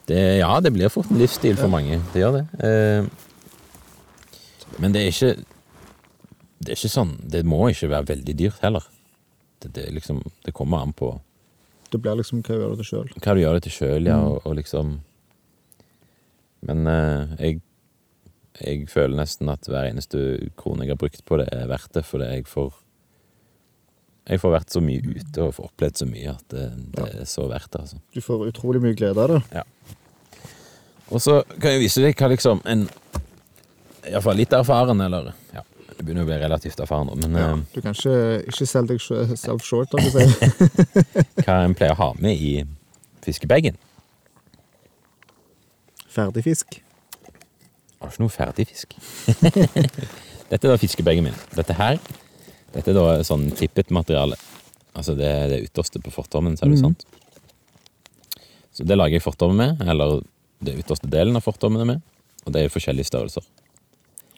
Speaker 2: Det, ja, det blir fort en livsstil for mange. Det gjør det. Eh, men det er ikke Det er ikke sånn Det må ikke være veldig dyrt heller. Det, det, er liksom, det kommer an på
Speaker 3: Det blir liksom hva gjør du sjøl.
Speaker 2: hva du gjør det til sjøl, ja, og, og liksom Men eh, jeg jeg føler nesten at hver eneste krone jeg har brukt på det, er verdt det, fordi jeg får Jeg får vært så mye ute og får opplevd så mye at det, det er så verdt det, altså.
Speaker 3: Du får utrolig mye glede av det.
Speaker 2: Og så kan jeg vise deg hva liksom en Iallfall litt erfaren, eller ja, Jeg begynner å bli relativt erfaren nå, men eh,
Speaker 3: Du kan ikke, ikke selge deg sj- selv short, holdt jeg på å si.
Speaker 2: eh, hva en pleier å ha med i fiskebagen?
Speaker 3: Ferdig fisk.
Speaker 2: Jeg har ikke noe ferdig fisk. dette er da fiskebagen min. Dette her, dette er da sånn tippet materiale. Altså det er det ytterste på fortommen, ser du sant? Så det lager jeg fortommen med, eller det ytterste delen av fortommene med, og det er i forskjellige størrelser.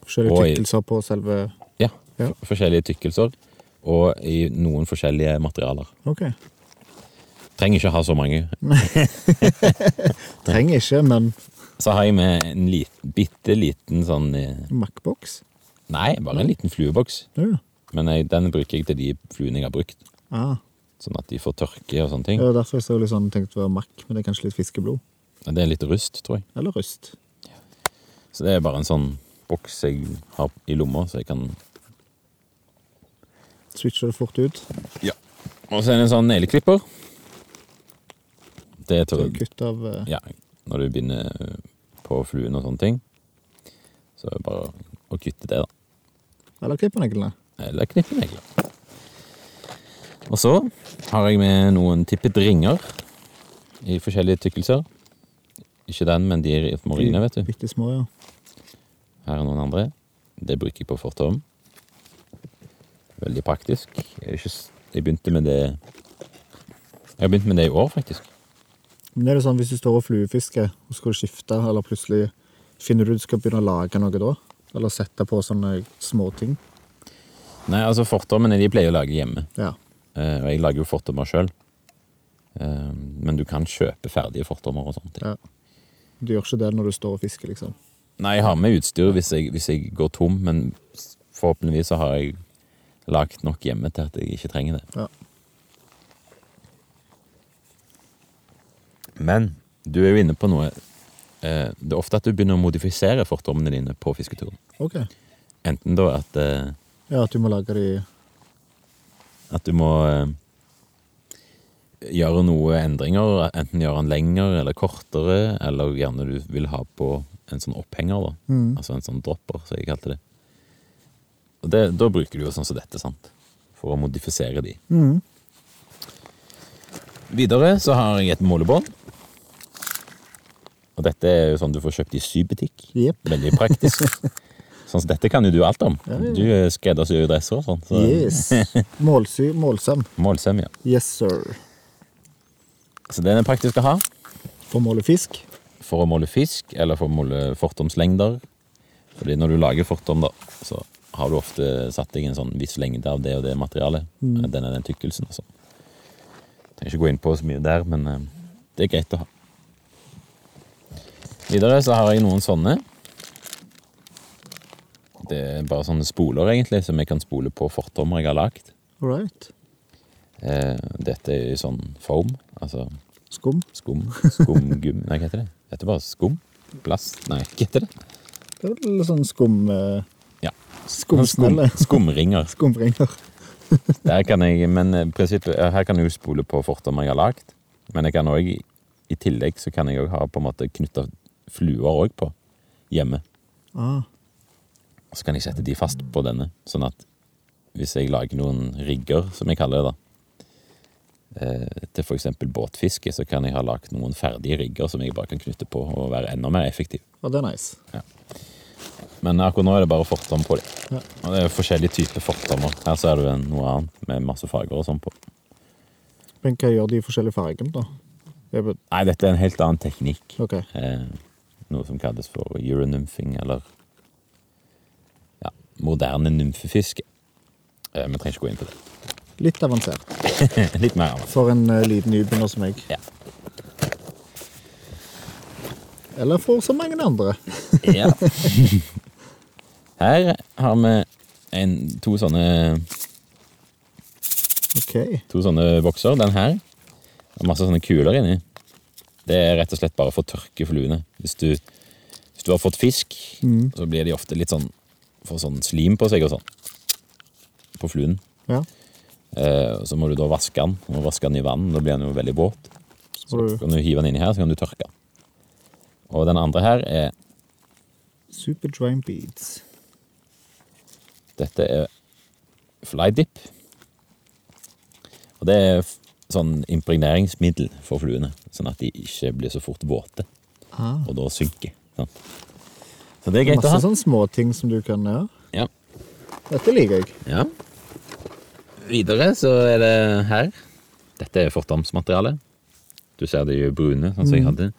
Speaker 3: Forskjellige
Speaker 2: Oi.
Speaker 3: tykkelser på selve
Speaker 2: Ja,
Speaker 3: Ja.
Speaker 2: f- forskjellige tykkelser, og i noen forskjellige materialer.
Speaker 3: Ok.
Speaker 2: Trenger ikke ha så mange.
Speaker 3: Trenger ikke, men
Speaker 2: Så har jeg med en lit, bitte liten sånn, eh,
Speaker 3: Mac-boks?
Speaker 2: nei, bare en liten flueboks,
Speaker 3: Ja.
Speaker 2: men jeg, den bruker jeg til de fluene jeg har brukt.
Speaker 3: Ah.
Speaker 2: Sånn at de får tørke og sånne ting.
Speaker 3: Det var derfor jeg så litt sånn, tenkte det var Mac, men det er kanskje litt fiskeblod.
Speaker 2: Det er litt rust, tror jeg.
Speaker 3: Eller rust.
Speaker 2: Så det er bare en sånn boks jeg har i lomma, så jeg kan
Speaker 3: Switcher det fort ut.
Speaker 2: Ja. Og så er det en sånn negleklipper. Det er til
Speaker 3: Så
Speaker 2: å
Speaker 3: kutt av eh,
Speaker 2: Ja, når du binder eh, på fluen og sånne ting, så er det bare å kutte det, da.
Speaker 3: Eller klipperneglene.
Speaker 2: Eller knippe negler. Og så har jeg med noen tippet ringer i forskjellige tykkelser. Ikke den, men de i morine, vet du.
Speaker 3: Bitte små, ja.
Speaker 2: Her er noen andre. Det bruker jeg på fortom. Veldig praktisk. Jeg, er ikke, s- jeg begynte med det Jeg har begynt med det i år, faktisk.
Speaker 3: Men er det sånn hvis du står og fluefisker, og skal skifte, eller plutselig finner du du skal begynne å lage noe da? Eller sette på sånne småting?
Speaker 2: Nei, altså Fortommene de pleier å lage hjemme.
Speaker 3: Ja.
Speaker 2: Eh, Og jeg lager jo fortommer sjøl. Men du kan kjøpe ferdige fortommer og sånne ting.
Speaker 3: ja. Du gjør ikke det når du står og fisker, liksom.
Speaker 2: Nei, jeg har med utstyr hvis jeg, hvis jeg går tom, men s- forhåpentligvis så har jeg lagd nok hjemme til at jeg ikke trenger det.
Speaker 3: Ja.
Speaker 2: Men du er jo inne på noe eh, Det er ofte at du begynner å modifisere fortommene dine på fisketuren.
Speaker 3: Ok.
Speaker 2: Enten da at, eh,
Speaker 3: Ja, at du må lage de
Speaker 2: at du må eh, gjøre noe endringer, enten gjøre den lenger eller kortere, eller gjerne du vil ha på en sånn opphenger, da.
Speaker 3: Mhm.
Speaker 2: altså en sånn dropper, som jeg kalte det. Og det, da bruker du jo sånn som dette, sant? for å modifisere de.
Speaker 3: Mhm.
Speaker 2: Videre så har jeg et målebånd. Og dette er jo sånn du får kjøpt i sybutikk.
Speaker 3: Jepp.
Speaker 2: Veldig praktisk. sånn som dette kan jo du alt om.
Speaker 3: Ja, ja, ja.
Speaker 2: Du eh, skreddersyr jo dresser og sånn. Så
Speaker 3: Yes. Målsy, målsam.
Speaker 2: Målsøm, ja.
Speaker 3: Yes, sir.
Speaker 2: Så den er praktisk å ha
Speaker 3: For å måle fisk.
Speaker 2: for å måle fisk, eller for å måle fortomslengder. Fordi når du lager fortom, da, så har du ofte satt deg en sånn viss lengde av det og det materialet. Mm. Den er den tykkelsen og sånn. Trenger ikke gå inn på så mye der, men eh, det er greit å ha. Videre så har jeg noen sånne. Det er bare sånne spoler, egentlig, som jeg kan spole på fortommer jeg har lagd.
Speaker 3: All right.
Speaker 2: Eh, dette er i sånn foam, altså
Speaker 3: Skum.
Speaker 2: Skum? Skumgum? Nei, hva heter det? Det heter bare skum? Plast? Nei, hva heter det?
Speaker 3: Det er vel sånn skum... eh,
Speaker 2: Ja. Sånn Skum,
Speaker 3: Skumsnelle.
Speaker 2: skumringer.
Speaker 3: Skumbringer.
Speaker 2: Der kan jeg, men eh, prinsippet, eh, her kan jeg jo spole på fortommer jeg har lagd. Men jeg kan også, i tillegg så kan jeg òg ha på en måte knytta fluer òg på hjemme.
Speaker 3: Ah,
Speaker 2: Og så kan jeg sette de fast på denne, sånn at hvis jeg lager noen rigger, som jeg kaller det, da eh, til f.eks. båtfiske, så kan jeg ha lagd noen ferdige rigger som jeg bare kan knytte på og være enda mer effektiv.
Speaker 3: ja, det er nice.
Speaker 2: Men akkurat nå er det bare fortom på dem.
Speaker 3: Ja.
Speaker 2: Og det er jo forskjellige typer fortommer. Her så er det jo en- noe annet med masse farger og sånn på.
Speaker 3: Men hva gjør de forskjellige fargene, da? Det er bare-
Speaker 2: Nei, dette er en helt annen teknikk.
Speaker 3: Ok.
Speaker 2: Eh, noe som kalles for euronymphing, eller ja, moderne nymfefiske. Eh, vi trenger ikke gå inn på det.
Speaker 3: Litt avansert.
Speaker 2: Litt mer av det.
Speaker 3: For en eh, liten nybegynner som meg.
Speaker 2: Ja.
Speaker 3: Eller for så mange andre.
Speaker 2: Ja. Her har vi en, to sånne
Speaker 3: Ok.
Speaker 2: to sånne bokser. Den her. Det er masse sånne kuler inni. Det er rett og slett bare for å tørke fluene. Hvis du, hvis du har fått fisk, så blir de ofte litt sånn Får sånn slim på seg og sånn. På fluen.
Speaker 3: Ja.
Speaker 2: Eh, og så må du da vaske den. Du må vaske den i vann. Da blir den jo veldig våt.
Speaker 3: Så får
Speaker 2: Så
Speaker 3: du
Speaker 2: kan du hive den inni her, så kan du tørke den. Og den andre her er
Speaker 3: super drying beads.
Speaker 2: Dette er flydip. Og det er f- sånn impregneringsmiddel for fluene, sånn at de ikke blir så fort våte,
Speaker 3: Ah.
Speaker 2: og da synker. Sant? Så det er greit å
Speaker 3: Masse sånn.
Speaker 2: ha.
Speaker 3: sånne småting som du kan gjøre.
Speaker 2: Ja.
Speaker 3: Dette liker jeg.
Speaker 2: ja. Videre så er det her. Dette er fortamsmateriale. Du ser de er brune, sånn
Speaker 3: Mm.
Speaker 2: som jeg hadde.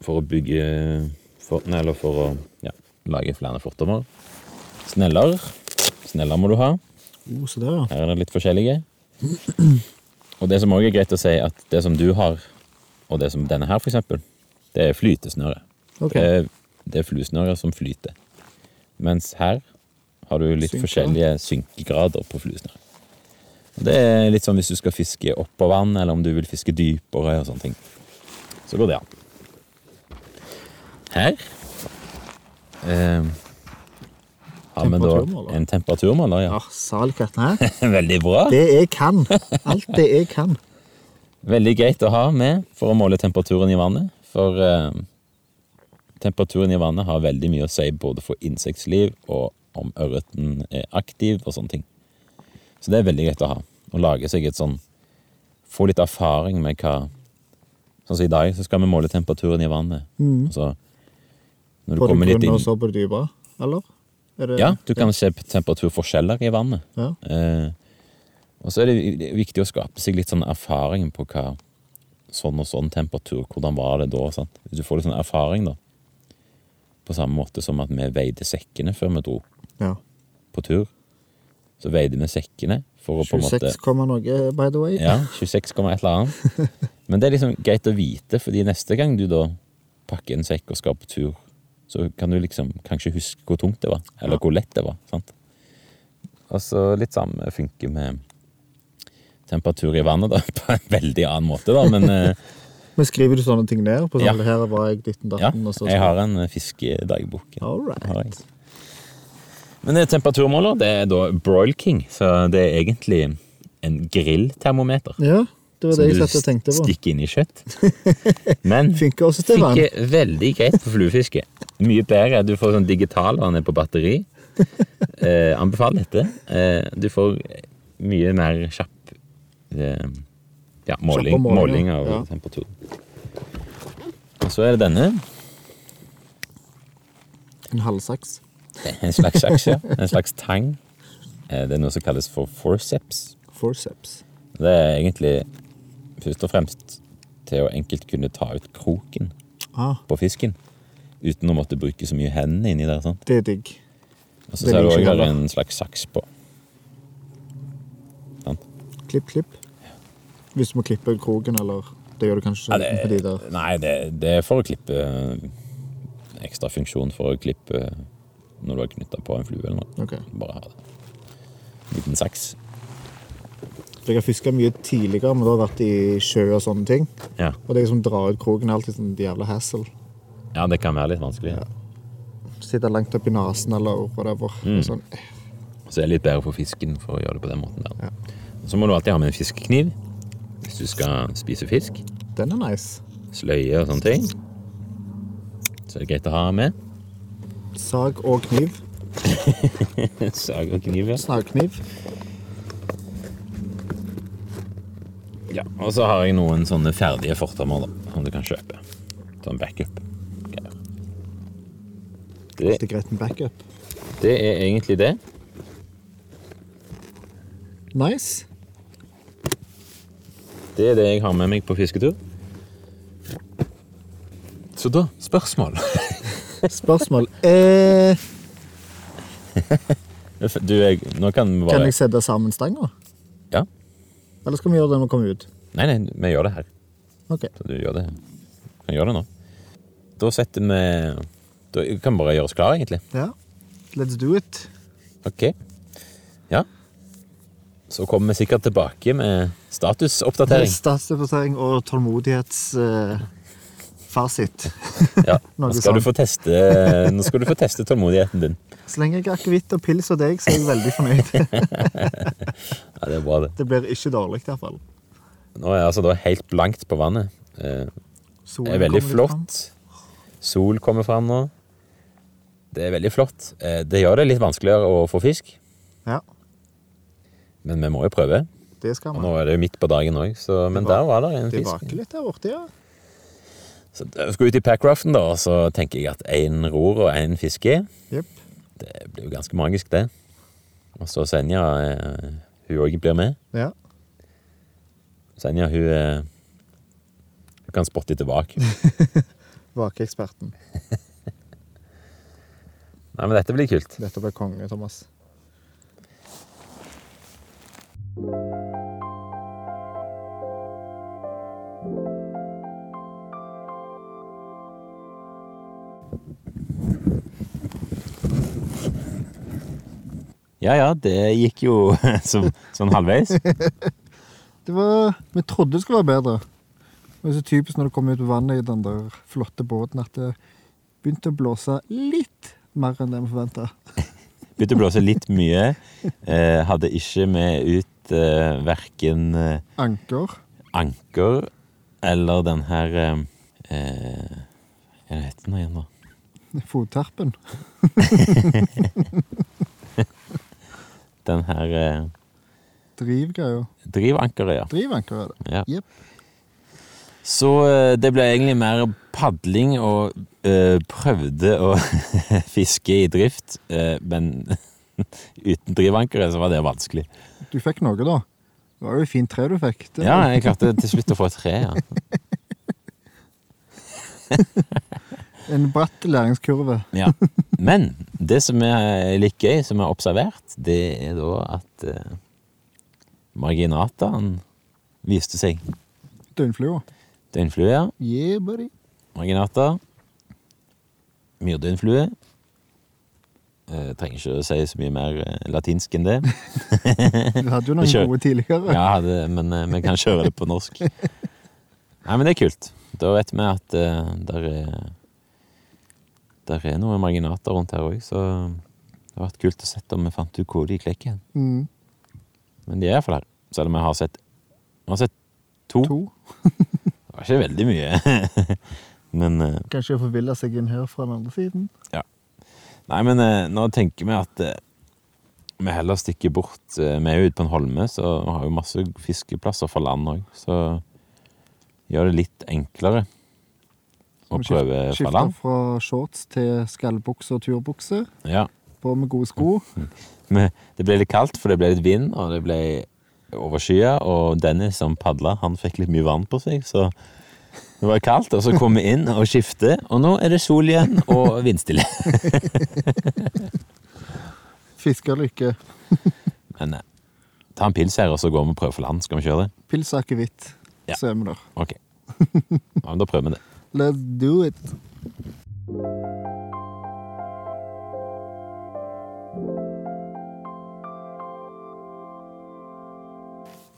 Speaker 2: For å bygge for, Nei, eller for å ja, lage flere fortommer. Sneller. Sneller må du ha.
Speaker 3: Oh, se der, ja.
Speaker 2: Her er det litt forskjellige. Og det som også er greit å si, at det som du har, og det som denne her, for eksempel, det er flytesnøre.
Speaker 3: Ok.
Speaker 2: Det, er, det er fluesnøre som flyter. Mens her har du litt
Speaker 3: Synker.
Speaker 2: forskjellige synkegrader på fluesnøre. Og det er litt sånn hvis du skal fiske oppå vann, eller om du vil fiske dypere og sånne ting. Så går det an. Her eh, har vi da
Speaker 3: Temperaturmåler.
Speaker 2: en temperaturmåler, ja.
Speaker 3: ja Salkatten her.
Speaker 2: Veldig bra.
Speaker 3: Det jeg kan. Alt det jeg kan.
Speaker 2: Veldig greit å ha med for å måle temperaturen i vannet. For eh, temperaturen i vannet har veldig mye å si både for insektliv og om ørreten er aktiv og sånne ting. Så det er veldig greit å ha. Å lage seg et sånn Få litt erfaring med hva Sånn som i dag, så skal vi måle temperaturen i vannet. Og så når du
Speaker 3: Mm. På det
Speaker 2: kommer litt
Speaker 3: grunne og
Speaker 2: inn
Speaker 3: så på det dypere. Eller? Er det,
Speaker 2: Ja, du kan se temperaturforskjeller i vannet.
Speaker 3: Ja.
Speaker 2: Eh, og så er det vi- viktig å skape seg litt sånn erfaring på hva sånn og sånn temperatur, hvordan var det da? Sant? Hvis du får litt sånn erfaring, da. På samme måte som at vi veide sekkene før vi dro
Speaker 3: ja.
Speaker 2: på tur. Så veide vi sekkene for å på en måte
Speaker 3: 26, noe, eh, by the way.
Speaker 2: ja, 26, et eller annet. Men det er liksom greit å vite, fordi neste gang du da pakker en sekk og skal på tur, så kan du liksom kanskje huske hvor tungt det var, eller hvor lett det var. sant? Og så litt samme funker med temperatur i vannet, da, på en veldig annen måte, da, men eh,
Speaker 3: Men skriver du sånne ting ned? på sånn,
Speaker 2: Ja.
Speaker 3: Her var jeg ditten
Speaker 2: ja,
Speaker 3: datten, og så
Speaker 2: jeg har en eh, fiskedagbok.
Speaker 3: All right.
Speaker 2: Har jeg. Men det er temperaturmåler, det er da Broil King, så det er egentlig en grilltermometer.
Speaker 3: Ja, det var
Speaker 2: som
Speaker 3: det jeg
Speaker 2: du
Speaker 3: satt og tenkte på.
Speaker 2: stikker inn i kjøtt. Men
Speaker 3: Funker også til vann.
Speaker 2: funker veldig greit på fluefiske. Mye bedre. Du får sånn digital vann på batteri. Eh, anbefaler dette. Eh, du får mye mer kjapp eh, ja, måling,
Speaker 3: Kjappe målinger,
Speaker 2: måling av
Speaker 3: ja.
Speaker 2: temperaturen. Og så er det denne.
Speaker 3: En halvsaks.
Speaker 2: En slags aksje. En slags tang. Eh, det er noe som kalles for forceps.
Speaker 3: Forceps.
Speaker 2: Det er egentlig først og fremst til å enkelt kunne ta ut kroken.
Speaker 3: Ah,
Speaker 2: på fisken. Uten å måtte bruke så mye hendene inni der. sant?
Speaker 3: det er digg.
Speaker 2: Og så
Speaker 3: Det
Speaker 2: ser du
Speaker 3: liker
Speaker 2: òg
Speaker 3: jeg
Speaker 2: der
Speaker 3: heller.
Speaker 2: en slags saks på. Sant?
Speaker 3: Klipp, klipp. Hvis du må klippe kroken, eller Det gjør du kanskje
Speaker 2: Ja,
Speaker 3: ikke med de
Speaker 2: det,
Speaker 3: der.
Speaker 2: nei, det, det er for å klippe eh, Ekstra funksjon for å klippe eh, når du har knytta på en flue eller noe.
Speaker 3: Ok.
Speaker 2: Bare ha det. Liten saks.
Speaker 3: Jeg har fiska mye tidligere, men da har jeg vært i sjø og sånne ting.
Speaker 2: Ja.
Speaker 3: Og det som drar ut kroken, er alltid sånn jævla hassle.
Speaker 2: ja, det kan være litt vanskelig.
Speaker 3: Sitte langt oppi nesen eller whatever. Sånn.
Speaker 2: Så det er litt bedre for fisken for å gjøre det på den måten der. Så må du alltid ha med en fiskekniv hvis du skal spise fisk.
Speaker 3: Den er nice.
Speaker 2: Sløye og sånne ting. Så det er greit å ha med.
Speaker 3: Sag og kniv.
Speaker 2: Sag og kniv, ja.
Speaker 3: Snagkniv.
Speaker 2: Ja, og så har jeg noen sånne ferdige fortommer da, som du kan kjøpe. Sånn backup. greier. Det,
Speaker 3: Det er greit med backup.
Speaker 2: det er egentlig det.
Speaker 3: Nice.
Speaker 2: Det er det jeg har med meg på fisketur. Så da, spørsmål.
Speaker 3: Spørsmål. Eh,
Speaker 2: Du, jeg, nå kan vi bare...
Speaker 3: kan jeg sette sammen stanga?
Speaker 2: Ja.
Speaker 3: Eller skal vi gjøre det når vi kommer ut?
Speaker 2: Nei, nei, vi gjør det her.
Speaker 3: Ok.
Speaker 2: Så du gjør det. Kan gjøre det nå. Da setter vi... Da kan vi bare gjøre oss klar, egentlig.
Speaker 3: Ja. Let's do it.
Speaker 2: Ok. Ja. Så kommer vi sikkert tilbake med statusoppdatering.
Speaker 3: Statsdeportering og tålmodighetsfasit.
Speaker 2: Ja, nå
Speaker 3: Noe
Speaker 2: skal, du sånn.
Speaker 3: sånt.
Speaker 2: få teste, eh, nå skal du få teste tålmodigheten din.
Speaker 3: Så lenge jeg har akevitt og pils og deg, så er jeg veldig fornøyd.
Speaker 2: Ja, det er bra, det.
Speaker 3: Det blir ikke dårlig, iallfall.
Speaker 2: Nå er jeg altså da helt blankt på vannet. Eh, Det er veldig flott. Sol kommer fram nå. Det er veldig flott. Eh, Det gjør det litt vanskeligere å få fisk,
Speaker 1: Ja,
Speaker 2: men vi må jo prøve.
Speaker 1: det skal
Speaker 2: Og
Speaker 1: man.
Speaker 2: nå er det jo midt på dagen òg, men
Speaker 1: Det var-
Speaker 2: der var det en
Speaker 1: Det
Speaker 2: fisk.
Speaker 1: vaker litt der borte, ja.
Speaker 2: Så jeg skal ut i packraften, da, og så tenker jeg at én ror og én fiske.
Speaker 1: Jepp.
Speaker 2: Det blir jo ganske magisk, det. Og så Senja, eh, hun òg blir med.
Speaker 1: Ja.
Speaker 2: Senja, hun, eh, hun kan spotte etter vak.
Speaker 1: Vakeeksperten.
Speaker 2: Nei, men dette blir kult.
Speaker 1: Dette ble konge, Thomas.
Speaker 2: Ja ja, det gikk jo som, sånn halvveis.
Speaker 1: Det var, Vi trodde det skulle være bedre. Det er så typisk når du kommer ut på vannet i den der flotte båten at det begynte å blåse litt mer enn det vi forventa.
Speaker 2: Begynte å blåse litt mye. Eh, hadde ikke med ut eh, verken eh,
Speaker 1: Anker.
Speaker 2: anker eller den her eh, eh, Hva heter den igjen, da?
Speaker 1: Fotterpen.
Speaker 2: Den her eh,
Speaker 1: Drivgreier.
Speaker 2: drivankeret, ja.
Speaker 1: Drivanker er det.
Speaker 2: ja.
Speaker 1: Jepp.
Speaker 2: Så eh, det ble egentlig mer padling og eh, prøvde å fiske i drift, eh, men uten drivankeret så var det vanskelig.
Speaker 1: Du fikk noe, da. Det var jo et fint tre du fikk. Det,
Speaker 2: Ja, jeg klarte til slutt å få et tre, ja.
Speaker 1: En bratt læringskurve.
Speaker 2: ja. Men det som er litt gøy, som er observert, det er da at eh, marginataen viste seg.
Speaker 1: Døgnflua.
Speaker 2: Døgnflue, ja.
Speaker 1: Yeah, buddy.
Speaker 2: Marginata. Myrdøgnflue. Eh, trenger ikke å si så mye mer eh, latinsk enn det.
Speaker 1: Du hadde jo noen
Speaker 2: Kjør.
Speaker 1: gode tidligere.
Speaker 2: Ja, det, men eh, vi kan kjøre det på norsk. Nei, men det er kult. Da vet vi at eh, der er Der er noen marginater rundt her òg, så det har vært kult å se om vi fant ut hvor de klekker. hen.
Speaker 1: Mm.
Speaker 2: Men de er iallfall her. Selv om vi har sett Vi har sett to.
Speaker 1: To.
Speaker 2: Det var ikke veldig mye. men eh,
Speaker 1: Kanskje jeg forvilla seg inn her fra den andre siden.
Speaker 2: Nei, men eh, nå tenker vi at eh, vi heller stikker bort. Eh, vi er jo ute på en holme, så vi har jo masse fiskeplasser for land òg. Så gjør det litt enklere å
Speaker 1: Vi skift-
Speaker 2: prøve fra land.
Speaker 1: Skifter fra shorts til skallbukse og turbukse.
Speaker 2: Ja.
Speaker 1: På med gode sko.
Speaker 2: Men det ble litt kaldt, for det ble litt vind, og det ble overskya. Og Dennis som padla, han fikk litt mye vann på seg, så det var kaldt. Og så kom vi inn og skiftet, og nå er det sol igjen og vindstille.
Speaker 1: Fiskerlykke.
Speaker 2: Men eh, ta en pils her, og så går vi og prøver for land. Skal vi kjøre det?
Speaker 1: Pils og akevitt.
Speaker 2: Ja.
Speaker 1: Så er vi der.
Speaker 2: Ok. Ja, men da prøver vi det.
Speaker 1: Let's do it.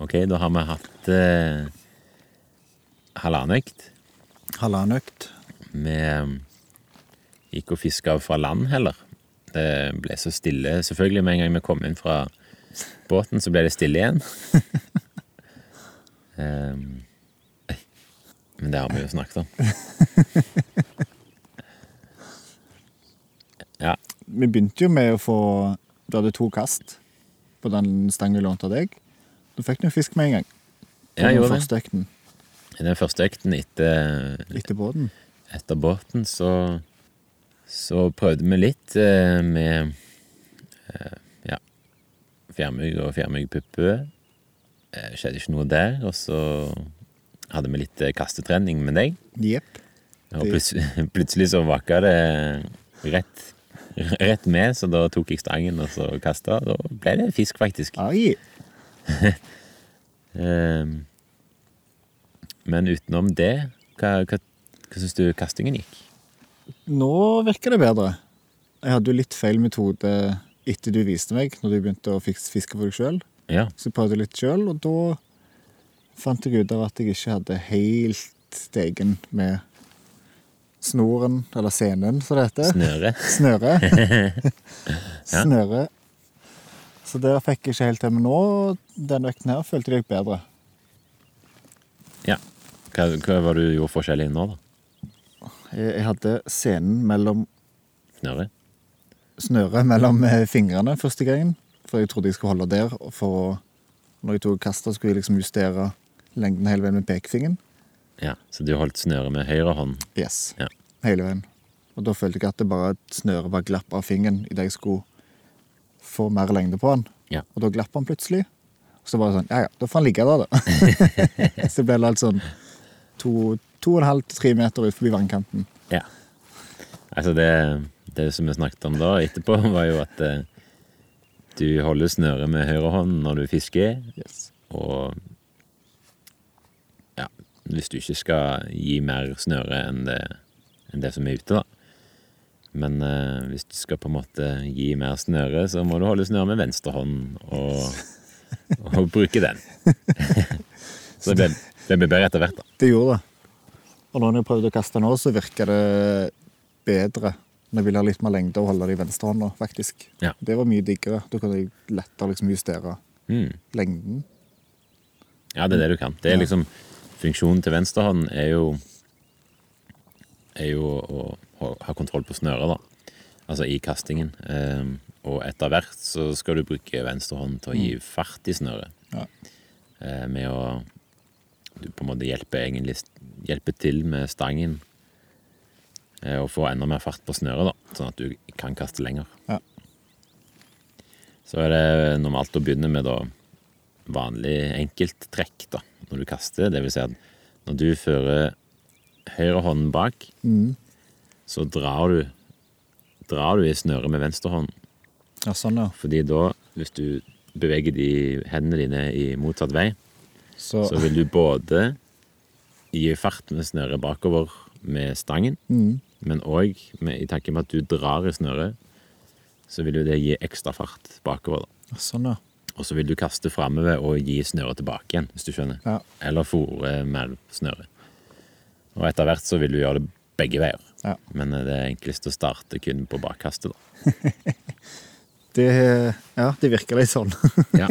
Speaker 2: Ok, da har vi hatt eh, halvannen økt.
Speaker 3: Halvannen økt.
Speaker 2: Vi eh, gikk og fiska fra land heller. Det ble så stille. Selvfølgelig, med en gang vi kom inn fra båten, så ble det stille igjen. Ehm, men det har vi jo snakket om. Ja,
Speaker 3: Vi begynte jo med å få Du hadde to kast på den stangen vi lånte av deg. Da fikk du en fisk med en gang. På
Speaker 2: jeg
Speaker 3: den
Speaker 2: gjorde det.
Speaker 3: første økten.
Speaker 2: I den første økten etter
Speaker 3: Etter båten.
Speaker 2: etter båten så, så prøvde vi litt eh, med eh, ja, fjærmygg og fjærmyggpuppe. Eh, skjedde ikke noe der. Og så hadde vi litt eh, kastetrening med deg.
Speaker 3: Jepp.
Speaker 2: Og
Speaker 3: Det-
Speaker 2: plutselig, plutselig så vaka det rett, rett med, så da tok jeg stangen og så kasta. Da ble det fisk, faktisk.
Speaker 3: Ai.
Speaker 2: Eh, men utenom det, hva, hva, hva syns du kastingen gikk?
Speaker 3: Nå virker det bedre. Jeg hadde jo litt feil metode etter du viste meg, når du begynte å fiks- fiske for deg sjøl.
Speaker 2: Ja.
Speaker 3: Så jeg prøvde litt sjøl, og da fant jeg ut av at jeg ikke hadde helt stegen med snoren, eller senen, som det heter.
Speaker 2: Snøre.
Speaker 3: Snøre. Snøre. Så der fikk jeg ikke helt til. Men nå, denne økten her, følte jeg bedre.
Speaker 2: Ja. Hva, hva var det du gjorde forskjellig nå, da?
Speaker 3: Jeg jeg hadde senen mellom
Speaker 2: Snøre?
Speaker 3: snøret mellom eh, fingrene første gangen. For jeg trodde jeg skulle holde der. og For å- når jeg tok kastet, skulle jeg liksom justere lengden hele veien med pekefingeren.
Speaker 2: Ja, Så du holdt snøret med høyre hånd?
Speaker 3: Yes.
Speaker 2: Ja.
Speaker 3: Hele veien. Og da følte jeg at det bare at snøret bare glapp av fingeren idet jeg skulle få mer lengde på den.
Speaker 2: Ja.
Speaker 3: Og da glapp han plutselig. Og så bare sånn Ja, ja, da får han ligge der, da. så ble det alt sånn to, to og en halv til tre meter ut forbi vannkanten.
Speaker 2: Ja. Altså det, det som vi snakket om da etterpå, var jo at eh, du holder snøret med høyre hånd når du fisker,
Speaker 3: Yes.
Speaker 2: og ja, hvis du ikke skal gi mer snøre enn det, enn det som er ute, da. Men eh, hvis du skal på en måte gi mer snøre, så må du holde snøret med venstre hånd og, og bruke den. så det, det blir bedre etter hvert, da.
Speaker 3: Det gjorde det. Og når jeg prøvde å kaste nå, så virka det bedre. Når jeg ville ha litt mer lengde og holde det i venstrehånda, faktisk.
Speaker 2: Ja.
Speaker 3: Det var mye diggere. Da kunne jeg lettere liksom justere
Speaker 2: Mm.
Speaker 3: lengden.
Speaker 2: Ja, det er det du kan. Det er
Speaker 3: Ja.
Speaker 2: liksom Funksjonen til venstrehånden er jo Er jo å ha- ha kontroll på snøret, da. Altså i kastingen. Ehm, og etter hvert så skal du bruke venstrehånden til å gi fart i snøret.
Speaker 3: Mm. Ja.
Speaker 2: Eh, med å Du på en måte hjelper egentlig Hjelper til med stangen. eh, Og få enda mer fart på snøret, da, sånn at du kan kaste lenger.
Speaker 3: Ja.
Speaker 2: Så er det normalt å begynne med da vanlig enkelttrekk da, når du kaster. Det vil si at når du fører høyre hånd bak, så drar du, drar du i snøret med venstre hånd.
Speaker 3: Ja, sånn, ja.
Speaker 2: Fordi da, hvis du beveger de hendene dine i motsatt vei,
Speaker 3: Så,
Speaker 2: så vil du både gi fart med snøret bakover med stangen, men òg i tanke med at du drar i snøret, så vil jo det gi ekstra fart bakover. da.
Speaker 3: Ja, sånn, ja.
Speaker 2: Og så vil du kaste framover og gi snøret tilbake igjen, hvis du skjønner.
Speaker 3: Ja.
Speaker 2: Eller fòre med snøret. Og etter hvert så vil du gjøre det begge veier.
Speaker 3: Ja.
Speaker 2: Men eh, det er enklest å starte kun på bakkastet, da.
Speaker 3: Det, ja, det virker litt sånn.
Speaker 2: Ja.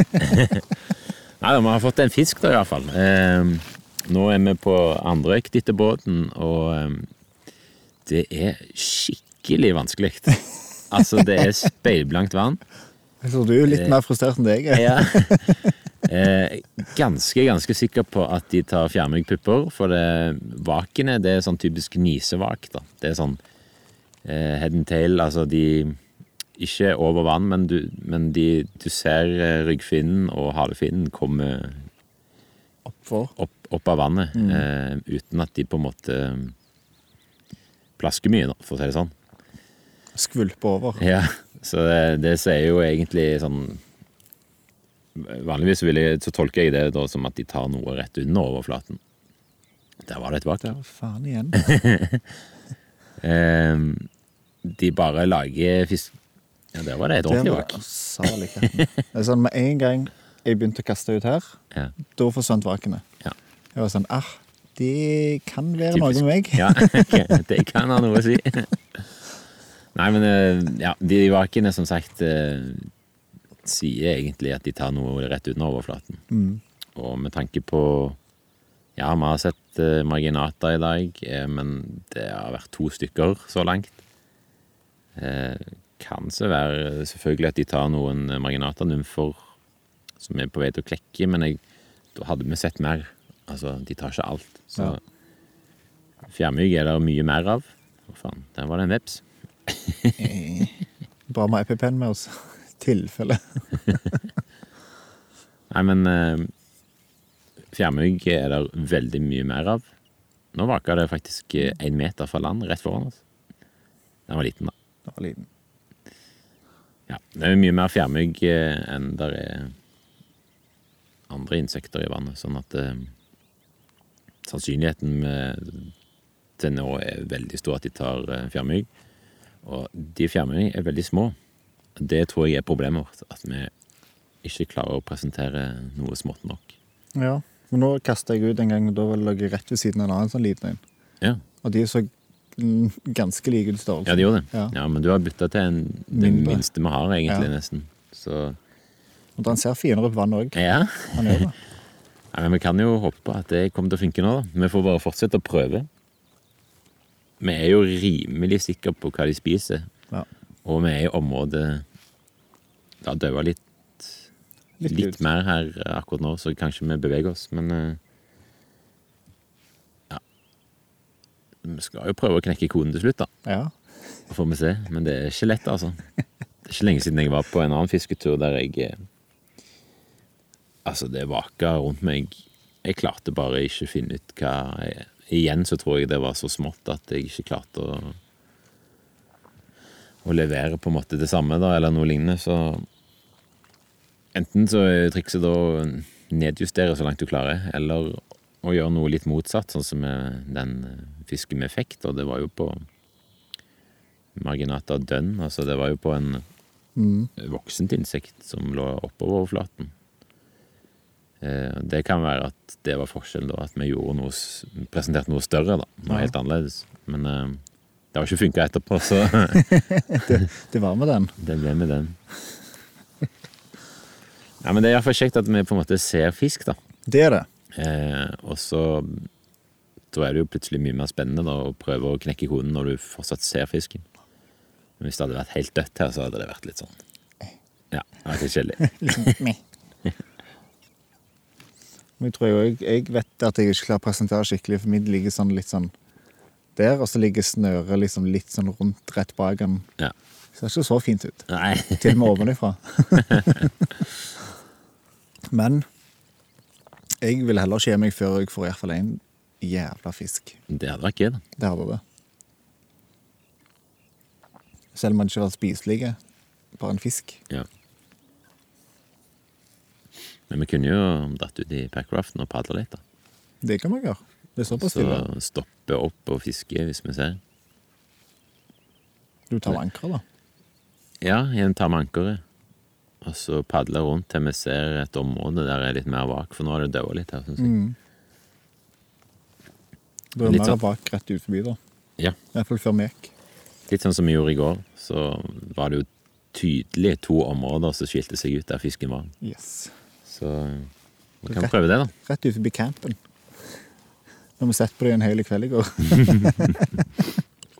Speaker 2: Nei da, vi har fått en fisk, da, iallfall. Eh, nå er vi på andre økt etter båten, og eh, det er skikkelig vanskelig. Altså, det er speilblankt vann.
Speaker 3: Jeg tror du er litt mer frustrert enn deg. er.
Speaker 2: Ja. Eh, ganske, ganske sikker på at de tar fjærmyggpupper, for det vakene det er sånn typisk nisevak. da. Det er sånn eh, head and tail, altså de Ikke over vann, men du, men de, du ser eh, ryggfinnen og halefinnen komme
Speaker 3: Oppfor.
Speaker 2: opp, opp av vannet eh, uten at de på en måte eh, plasker mye, da, for å si det sånn.
Speaker 3: Skvulpe over.
Speaker 2: Ja, så det, det sier jo egentlig sånn Vanligvis vil jeg, så tolker jeg det da som at de tar noe rett under overflaten. Der var det et vakt.
Speaker 3: Der, faen igjen.
Speaker 2: Ehm, de bare lager fisk... Ja, der var det et ordentlig vak.
Speaker 3: salig katten. Det er sånn, Med en gang jeg begynte å kaste ut her,
Speaker 2: Ja.
Speaker 3: da forsvant vakene.
Speaker 2: Ja.
Speaker 3: Jeg var sånn Ah, det kan være
Speaker 2: Typisk.
Speaker 3: noe med meg.
Speaker 2: Ja, ok, det kan ha noe å si. Nei, men eh, ja, de vakene som sagt eh, sier egentlig at de tar noe rett under overflaten.
Speaker 3: Mm.
Speaker 2: Og med tanke på Ja, vi har sett eh, marginater i dag, eh, men det har vært to stykker så langt. Eh, kan så være eh, selvfølgelig at de tar noen marginatanumfer som er på vei til å klekke, men jeg, da hadde vi sett mer. Altså, de tar ikke alt. Så
Speaker 3: Ja.
Speaker 2: fjærmygg er det mye mer av. Å faen, der var det en veps.
Speaker 3: Bare med EpiPen med oss. Tilfelle.
Speaker 2: Nei, men eh, fjærmygg er det veldig mye mer av. Nå vaka det faktisk eh, en meter fra land rett foran oss. Den var liten, da.
Speaker 3: Det var liten.
Speaker 2: Ja, det er jo mye mer fjærmygg eh, enn der er andre insekter i vannet, sånn at eh, sannsynligheten med, til nå er veldig stor at de tar eh, fjærmygg. Og de fjærmyggene er veldig små. Det tror jeg er problemet vårt, at vi ikke klarer å presentere noe smått nok.
Speaker 3: Ja. Men nå kasta jeg ut en gang, og da lå jeg rett ved siden av en annen sånn liten en.
Speaker 2: Ja,
Speaker 3: Og de så mm, ganske like ut i størrelse.
Speaker 2: ja det gjorde det. Ja.
Speaker 3: Ja.
Speaker 2: men du har bytta til en, det
Speaker 3: Mindre.
Speaker 2: minste vi har, egentlig,
Speaker 3: Ja.
Speaker 2: nesten. Så
Speaker 3: Og den ser finere ut på vannet òg.
Speaker 2: ja.
Speaker 3: Han gjør det.
Speaker 2: Nei, men Vi kan jo håpe at det kommer til å funke nå. da. Vi får bare fortsette å prøve. Vi er jo rimelig sikre på hva de spiser,
Speaker 3: Ja.
Speaker 2: Og vi er i området Det har daua litt,
Speaker 3: Litt
Speaker 2: litt,
Speaker 3: ut.
Speaker 2: mer her akkurat nå, så kanskje vi beveger oss, men eh, Ja. Vi skal jo prøve å knekke koden til slutt, da.
Speaker 3: Ja.
Speaker 2: Så får vi se. Men det er ikke lett, altså. Det er ikke lenge siden jeg var på en annen fisketur der jeg eh, Altså, det vaka rundt meg. Jeg klarte bare ikke å finne ut hva jeg, Igjen så tror jeg det var så smått at jeg ikke klarte å å levere på en måte det samme, da, eller noe lignende, så Enten så er trikset da å nedjustere så langt du klarer, eller å gjøre noe litt motsatt, sånn som eh, den eh, fisken med effekt, og det var jo på marginata dønn. Altså, det var jo på en voksent insekt som lå oppover overflaten. Eh, Det kan være at det var forskjellen, da. At vi gjorde noe, s- presenterte noe større, da. Noe helt annerledes. Men eh, det har ikke funka etterpå, så
Speaker 3: Det var med den.
Speaker 2: det ble med den. Nei, men det er iallfall kjekt at vi på en måte ser fisk, da.
Speaker 3: Det er det.
Speaker 2: Eh, og så da er det jo plutselig mye mer spennende da, å prøve å knekke koden når du fortsatt ser fisken. Men hvis det hadde vært helt dødt her, så hadde det vært litt sånn Ja, det var litt kjedelig.
Speaker 3: Men jeg tror jo jeg, jeg vet at jeg ikke klarer å presentere skikkelig, for min ligger sånn litt sånn der, og så ligger snøret liksom litt sånn rundt rett bak den.
Speaker 2: Ja.
Speaker 3: Ser ikke så fint ut.
Speaker 2: Nei.
Speaker 3: Til og med ovenifra. Men jeg vil heller ikke gi meg før jeg får i hvert fall en jævla fisk.
Speaker 2: Det hadde vært gøy, da.
Speaker 3: Det hadde det. Selv om man ikke har vært spiselige. Bare en fisk.
Speaker 2: Ja. Men vi kunne jo dratt ut i packraften og padla litt, da.
Speaker 3: Det kan man gjøre. Det er såpass
Speaker 2: Så
Speaker 3: stille.
Speaker 2: stoppe opp og fiske hvis vi ser.
Speaker 3: Du tar ankeret, da.
Speaker 2: Ja, igjen tar vi ankeret. Og så padle rundt til vi ser et område der jeg er litt mer vak, for nå har det daua litt her, syns jeg.
Speaker 3: Du er
Speaker 2: Litt
Speaker 3: mer
Speaker 2: sånn.
Speaker 3: bak rett ut forbi, da.
Speaker 2: Ja.
Speaker 3: I hvert fall før vi gikk.
Speaker 2: Litt sånn som vi gjorde i går, så var det jo tydelig to områder som skilte seg ut der fisken var.
Speaker 3: Yes.
Speaker 2: Så vi kan prøve det, da.
Speaker 3: Rett ut forbi campen. Nå har vi sett på det en hel kveld i går.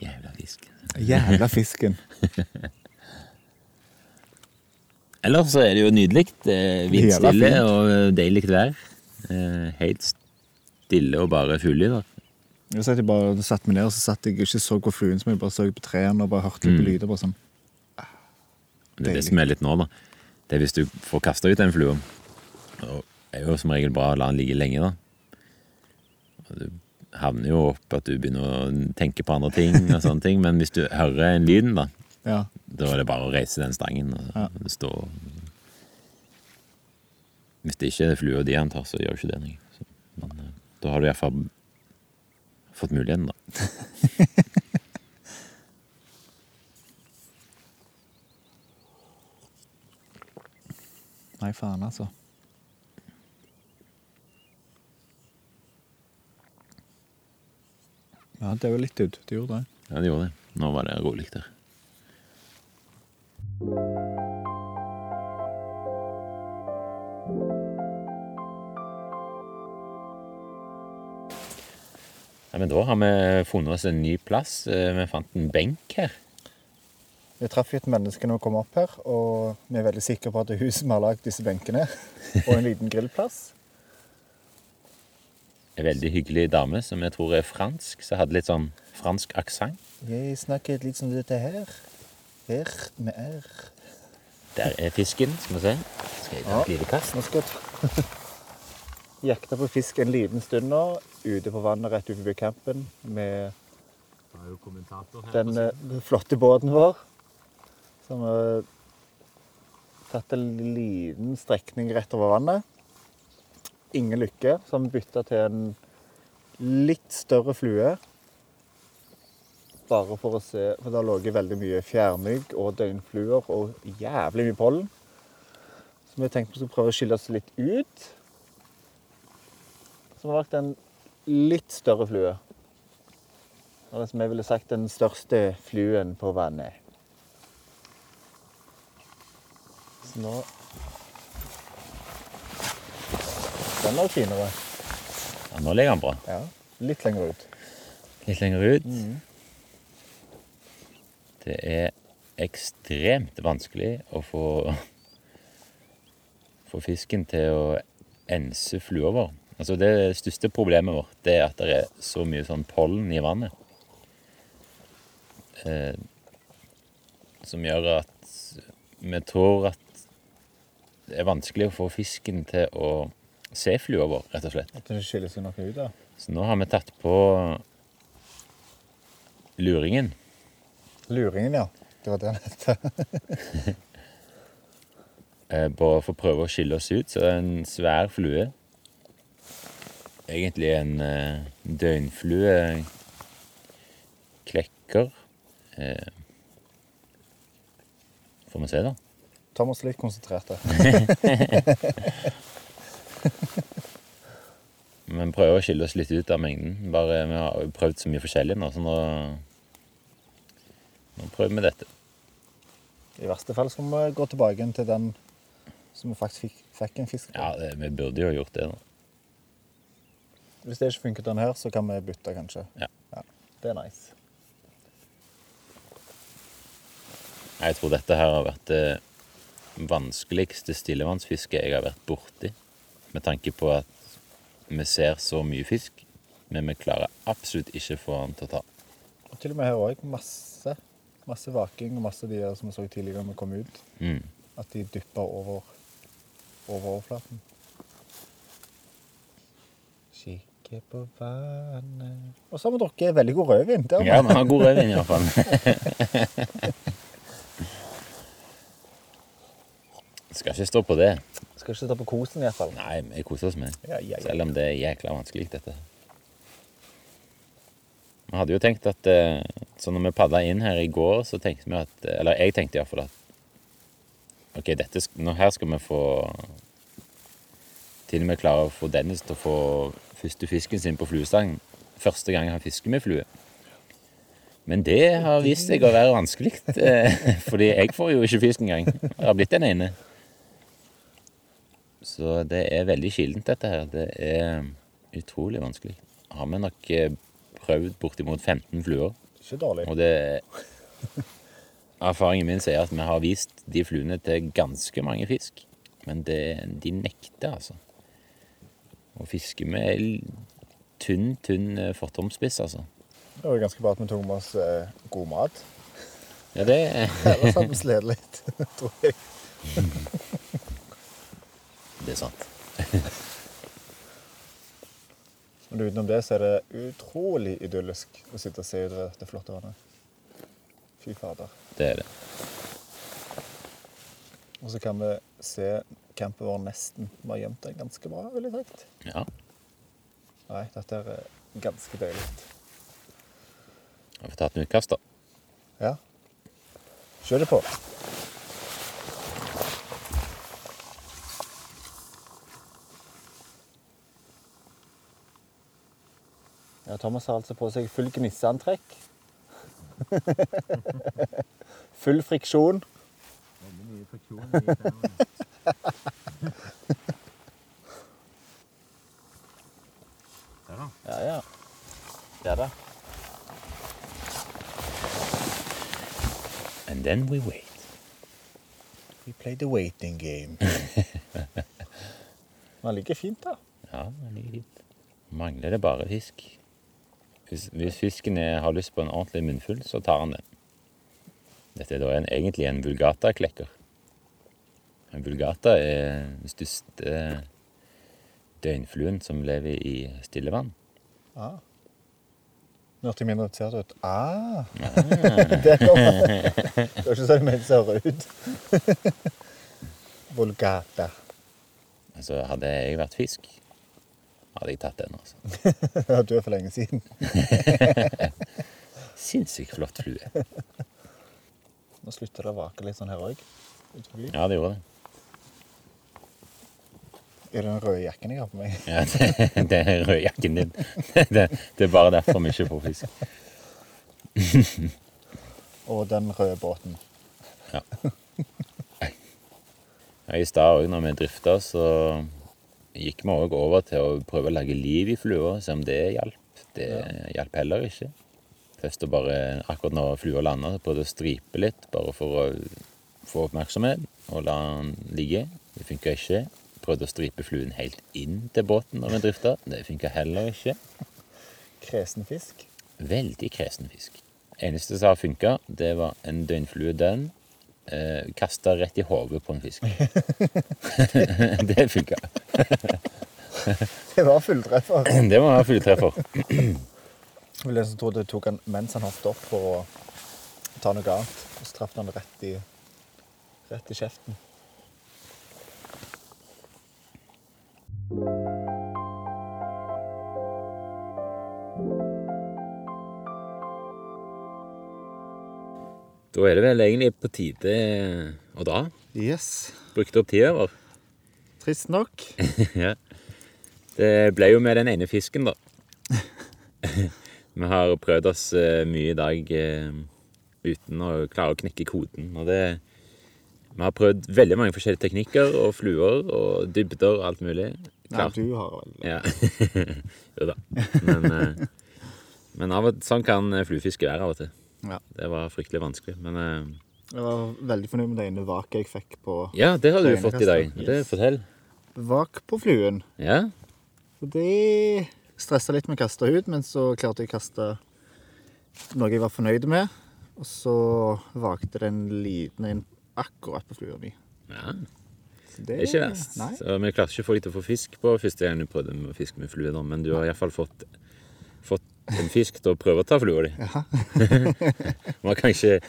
Speaker 2: Jævla fisk.
Speaker 3: Jævla fisken.
Speaker 2: Ellers så er det jo nydelig. Det er Vindstille
Speaker 3: Jævla fint.
Speaker 2: og deilig vær. Eh, Helt stille og bare full i, da.
Speaker 3: Jeg satt jeg bare og satt meg ned, og så satt jeg og ikke så på fluen, som jeg bare så på trærne og bare hørte litt på lyder. Bare sånn.
Speaker 2: Det er det
Speaker 3: Deilig.
Speaker 2: som er litt nå, da. Det er hvis du får kasta ut en flue. Og det er jo som regel bra å la den ligge lenge, da. Og du havner jo opp at du begynner å tenke på andre ting, og sånne ting, men hvis du hører en lyd, da,
Speaker 3: Ja.
Speaker 2: da er det bare å reise den stangen og
Speaker 3: Ja.
Speaker 2: stå Hvis det ikke er flua di han tar, så gjør jo ikke det noe. Så- Men eh, da har du iallfall fått muligheten, da.
Speaker 3: Nei, faen, altså. Ja, det er jo litt ut. Det gjorde det.
Speaker 2: Ja, det gjorde det. Nå var det rolig der. Ja, men da har vi funnet oss en ny plass. Eh, Vi fant en benk her.
Speaker 3: Vi traff et menneske når vi kom opp her, og vi er veldig sikre på at det er hun som har lagd disse benkene. Og en liten grillplass.
Speaker 2: En veldig hyggelig dame som jeg tror er fransk, som hadde litt sånn fransk aksent.
Speaker 3: Jeg snakket litt som dette her. Her med r.
Speaker 2: Der er fisken, skal vi se. Skal jeg ta et lite kast?
Speaker 3: Nå skal jeg ta jakte på fisk en liten stund nå, ute på vannet rett utenfor campen med den eh, flotte båten vår. Som har tatt en liten strekning rett over vannet. Ingen lykke, som bytta til en litt større flue. Bare for å se, for det har ligget veldig mye fjærmygg og døgnfluer og jævlig mye pollen. Så vi tenkte vi skulle prøve å skille oss litt ut. Så vi valgte en litt større flue. Eller som jeg ville sagt, den største fluen på vannet. Så nå Den var finere.
Speaker 2: Ja, nå ligger han bra.
Speaker 3: Ja. Litt lenger ut.
Speaker 2: Litt lenger ut. Det er ekstremt vanskelig å få, få fisken til å ense fluover. Altså det største problemet vårt det er at det er så mye sånn pollen i vannet. Eh, som gjør at vi tror at det er vanskelig å få fisken til å se fluover, rett og slett.
Speaker 3: At det skiller seg noe ut, da.
Speaker 2: Så nå har vi tatt på luringen.
Speaker 3: Luringen, ja. Det var det han het.
Speaker 2: eh, Bare for å prøve å skille oss ut. Så det er en svær flue. Egentlig en eh, døgnflue. Klekker. Eh, Får vi se, da.
Speaker 3: Thomas er litt konsentrert. da.
Speaker 2: Men prøver å skille oss litt ut av mengden. Bare Vi har jo prøvd så mye forskjellig nå, så nå, nå prøver vi dette.
Speaker 3: I verste fall så må vi gå tilbake igjen til den som vi faktisk fikk, fikk en fisk på.
Speaker 2: Ja, det, vi burde jo ha gjort det nå.
Speaker 3: Hvis det ikke funket den her, så kan vi bytte, kanskje.
Speaker 2: Ja.
Speaker 3: Det er nice.
Speaker 2: Nei, Jeg tror dette her har vært det vanskeligste stillevannsfisket jeg har vært borti. Med tanke på at vi ser så mye fisk, men vi klarer absolutt ikke få den til å ta.
Speaker 3: Og til og med her òg. Masse, masse vaking og masse de der som vi så tidligere når vi kom ut.
Speaker 2: Mm.
Speaker 3: At de dypper over, over overflaten. Kikke på vannet Og så har vi drukket veldig god rødvin. Det har vi.
Speaker 2: Ja, vi har god rødvin iallfall. Skal ikke stå på det.
Speaker 3: Skal ikke ta på kosen, i hvert fall.
Speaker 2: Nei, vi koser oss med det.
Speaker 3: Ja, ja, ja.
Speaker 2: Selv om det er jækla vanskelig, dette. Vi hadde jo tenkt at eh, Så når vi padla inn her i går, så tenkte vi at eh, Eller jeg tenkte iallfall at OK, dette, sk- nå her skal vi få Til og med klare å få Dennis til å få første fisken sin på fluestang. Første gang han fisker med flue. Men det har vist seg å være vanskelig, eh, fordi jeg får jo ikke fisk engang. Det har blitt den ene. Så det er veldig kildent, dette her. Det er um, utrolig vanskelig. Har vi nok eh, prøvd bortimot 15 fluer,
Speaker 3: Ikke dårlig.
Speaker 2: og det Erfaringen min sier at vi har vist de fluene til ganske mange fisk, men det, de nekter, altså. Å fiske med l- tynn, tynn eh, fortomspiss, altså.
Speaker 3: Det var jo ganske bra at vi tok med oss eh, god mat.
Speaker 2: Ja, det
Speaker 3: Ellers hadde vi slitt litt, tror jeg.
Speaker 2: Det er sant.
Speaker 3: Men utenom det så er det utrolig idyllisk å sitte og se utover det flotte vannet. Fy fader.
Speaker 2: Det er det.
Speaker 3: Og så kan vi se campen vår nesten. Vi har gjemt den ganske bra, vil jeg sagt.
Speaker 2: Ja.
Speaker 3: Nei, dette er eh, ganske deilig.
Speaker 2: Har vi tatt en utkast, da?
Speaker 3: Ja. Kjør det på. Ja, Thomas har altså på seg full gnisseantrekk. full friksjon. Ja, ja. Ja da.
Speaker 2: And then we wait.
Speaker 3: We play the waiting game. Den ligger fint, da.
Speaker 2: Ja, det ligger fint. Mangler det bare fisk. Hvis, hvis fisken er, har lyst på en ordentlig munnfull, så tar han den. Dette er da en, egentlig en vulgata-klekker. En vulgata er den største døgnfluen som lever i stillevann.
Speaker 3: Ah. Nå hørte jeg mindre interessert ut. Ah! det kommer. Det var ikke sånn jeg mente det høres ut. Vulgata.
Speaker 2: Altså, hadde jeg vært fisk, hadde jeg tatt den. altså.
Speaker 3: Ja, Du er for lenge siden.
Speaker 2: Sinnssykt flott flue.
Speaker 3: Nå slutter det å vake litt sånn her òg. I
Speaker 2: Ja, det gjorde det.
Speaker 3: den røde jakken jeg har på meg.
Speaker 2: Ja, det, det er rødjakken din. Det, det er bare derfor vi ikke får fisk.
Speaker 3: Og den røde båten.
Speaker 2: Ja. Ja, I stad òg, når vi drifta, så gikk vi òg over til å prøve å lage liv i flua, se om det hjalp. Det hjalp heller ikke. Først å bare, akkurat når flua landa, prøvde jeg å stripe litt, bare for å få oppmerksomhet, og la den ligge. Det funka ikke. Prøvde å stripe fluen helt inn til båten når vi drifta. Det funka heller ikke.
Speaker 3: Kresen fisk.
Speaker 2: Veldig kresen fisk. Eneste som har funka, det var en døgnflue den. Eh, Kasta rett i hodet på en fisk. det funka.
Speaker 3: Det var altså. fulltreffer.
Speaker 2: Det var fulltreffer.
Speaker 3: Det var den som trodde det tok han mens han hoppet opp for å ta noe annet. Og så traff han rett i, rett i kjeften.
Speaker 2: Da er det vel egentlig på tide å dra.
Speaker 1: Yes.
Speaker 2: Brukte opp tida vår.
Speaker 1: Trist nok.
Speaker 2: ja. Det ble jo med den ene fisken, da. Vi har prøvd oss eh, mye i dag eh, uten å klare å knekke koden. Og det Vi har prøvd veldig mange forskjellige teknikker og fluer og dybder og alt mulig.
Speaker 3: Nei,
Speaker 2: Klart-
Speaker 3: du har vel
Speaker 2: Ja. jo da. Men, eh, men av og, sånn kan fluefiske være av og til.
Speaker 3: Ja.
Speaker 2: Det var fryktelig vanskelig. Men eh,
Speaker 3: Jeg var veldig fornøyd med det ene vaket jeg fikk på
Speaker 2: ja, det har du
Speaker 3: Rene
Speaker 2: fått i dag.
Speaker 3: kaster.
Speaker 2: Det
Speaker 3: Yes.
Speaker 2: Fortell.
Speaker 3: Vak på fluen.
Speaker 2: Ja.
Speaker 3: Så det stressa litt med å kaste ut, men så klarte jeg å kaste noe jeg var fornøyd med. Og så vakte den liten inn akkurat på flua mi.
Speaker 2: ja.
Speaker 3: Så
Speaker 2: Det er ikke verst.
Speaker 3: Nei.
Speaker 2: Så vi klarte ikke å få deg til å få fisk på første gang du prøvde med å fiske med flue, da, men du har iallfall fått, fått en fisk til å prøve å ta flua di. Man kanskje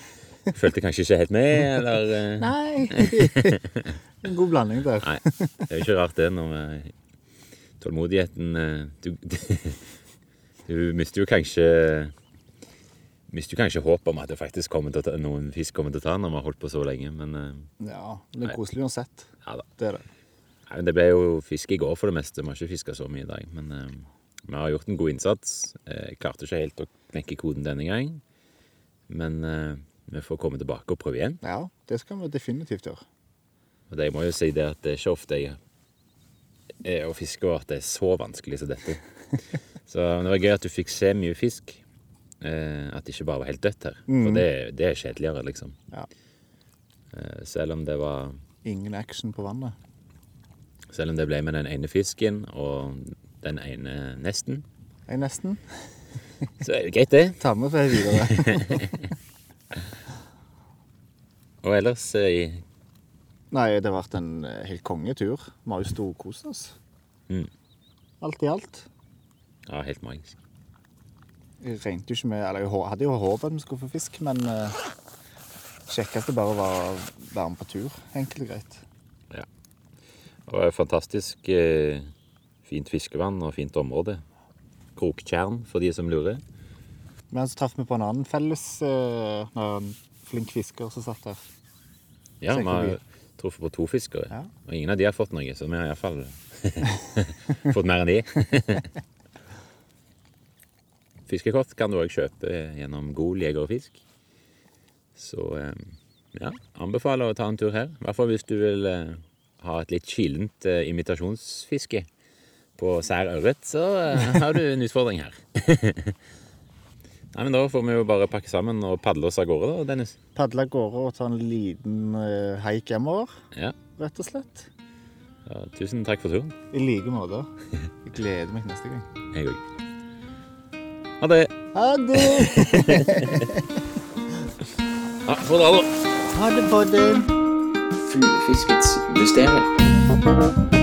Speaker 2: Følte kanskje ikke helt med, eller eh,
Speaker 3: Nei. En god blanding der.
Speaker 2: Nei. Det er jo ikke rart, det, når vi Tålmodigheten eh, Du, du mister jo kanskje Mister jo kanskje håp om at det faktisk kommer til å ta, noen fisk kommer til å ta den når vi har holdt på så lenge, men eh,
Speaker 3: Ja, det er
Speaker 2: Nei.
Speaker 3: koselig uansett.
Speaker 2: ja da.
Speaker 3: Det er det.
Speaker 2: Nei, men Det ble jo fisk i går for det meste. Vi har ikke fiska så mye i dag. Men eh, vi har gjort en god innsats. Eh, klarte ikke helt å knekke koden denne gang. Men eh, vi får komme tilbake og prøve igjen.
Speaker 3: Ja, det skal vi definitivt gjøre.
Speaker 2: Og det, jeg må jo si det at det er ikke ofte jeg er å fiske og at det er så vanskelig som dette. Så men det var gøy at du fikk se mye fisk. Eh, at det ikke bare var helt dødt her. For det, det er kjedeligere, liksom.
Speaker 3: Ja.
Speaker 2: Eh, selv om det var
Speaker 3: Ingen action på vannet.
Speaker 2: Selv om det ble med den ene fisken og den ene nesten,
Speaker 3: Jeg nesten
Speaker 2: så er det greit, det.
Speaker 3: tar med seg videre.
Speaker 2: Og ellers eh, i-
Speaker 3: Nei, det har vært en eh, helt kongetur. Vi har jo storkost oss.
Speaker 2: Mm.
Speaker 3: Alt i alt.
Speaker 2: Ja, helt magisk.
Speaker 3: Jeg regnet jo ikke med Eller jeg hå- hadde jo håpet at vi skulle få fisk, men eh, kjekkeste bare var å være med på tur. Enkelt og greit.
Speaker 2: Og fantastisk eh, fint fiskevann og fint område. Kroktjern, for de som lurer.
Speaker 3: Men så traff vi på en annen felles eh, en flink fisker som satt der.
Speaker 2: Ja,
Speaker 3: Se
Speaker 2: vi
Speaker 3: hvor
Speaker 2: har
Speaker 3: mye.
Speaker 2: truffet på to fiskere,
Speaker 3: Ja.
Speaker 2: og ingen av de har fått noe, så vi har iallfall fått mer enn de. Fiskekort kan du òg kjøpe gjennom Gol jeger og fisk. Så eh, ja, anbefaler å ta en tur her. I hvert fall hvis du vil eh, ha et litt kilent eh, imitasjonsfiske på sær ørret, så eh, har du en utfordring her. Nei, men Da får vi jo bare pakke sammen og padle oss av gårde, da, Dennis.
Speaker 3: Padle av gårde og ta en liten eh, haik hjemover,
Speaker 2: Ja.
Speaker 3: rett og slett.
Speaker 2: Ja, tusen takk for turen.
Speaker 3: I like måte. Jeg gleder meg til neste gang.
Speaker 2: Jeg òg. Ha det.
Speaker 3: Ha det!
Speaker 2: Ja, få dra, da.
Speaker 3: Ha det, podden!
Speaker 2: Fuglefiskets mysterium.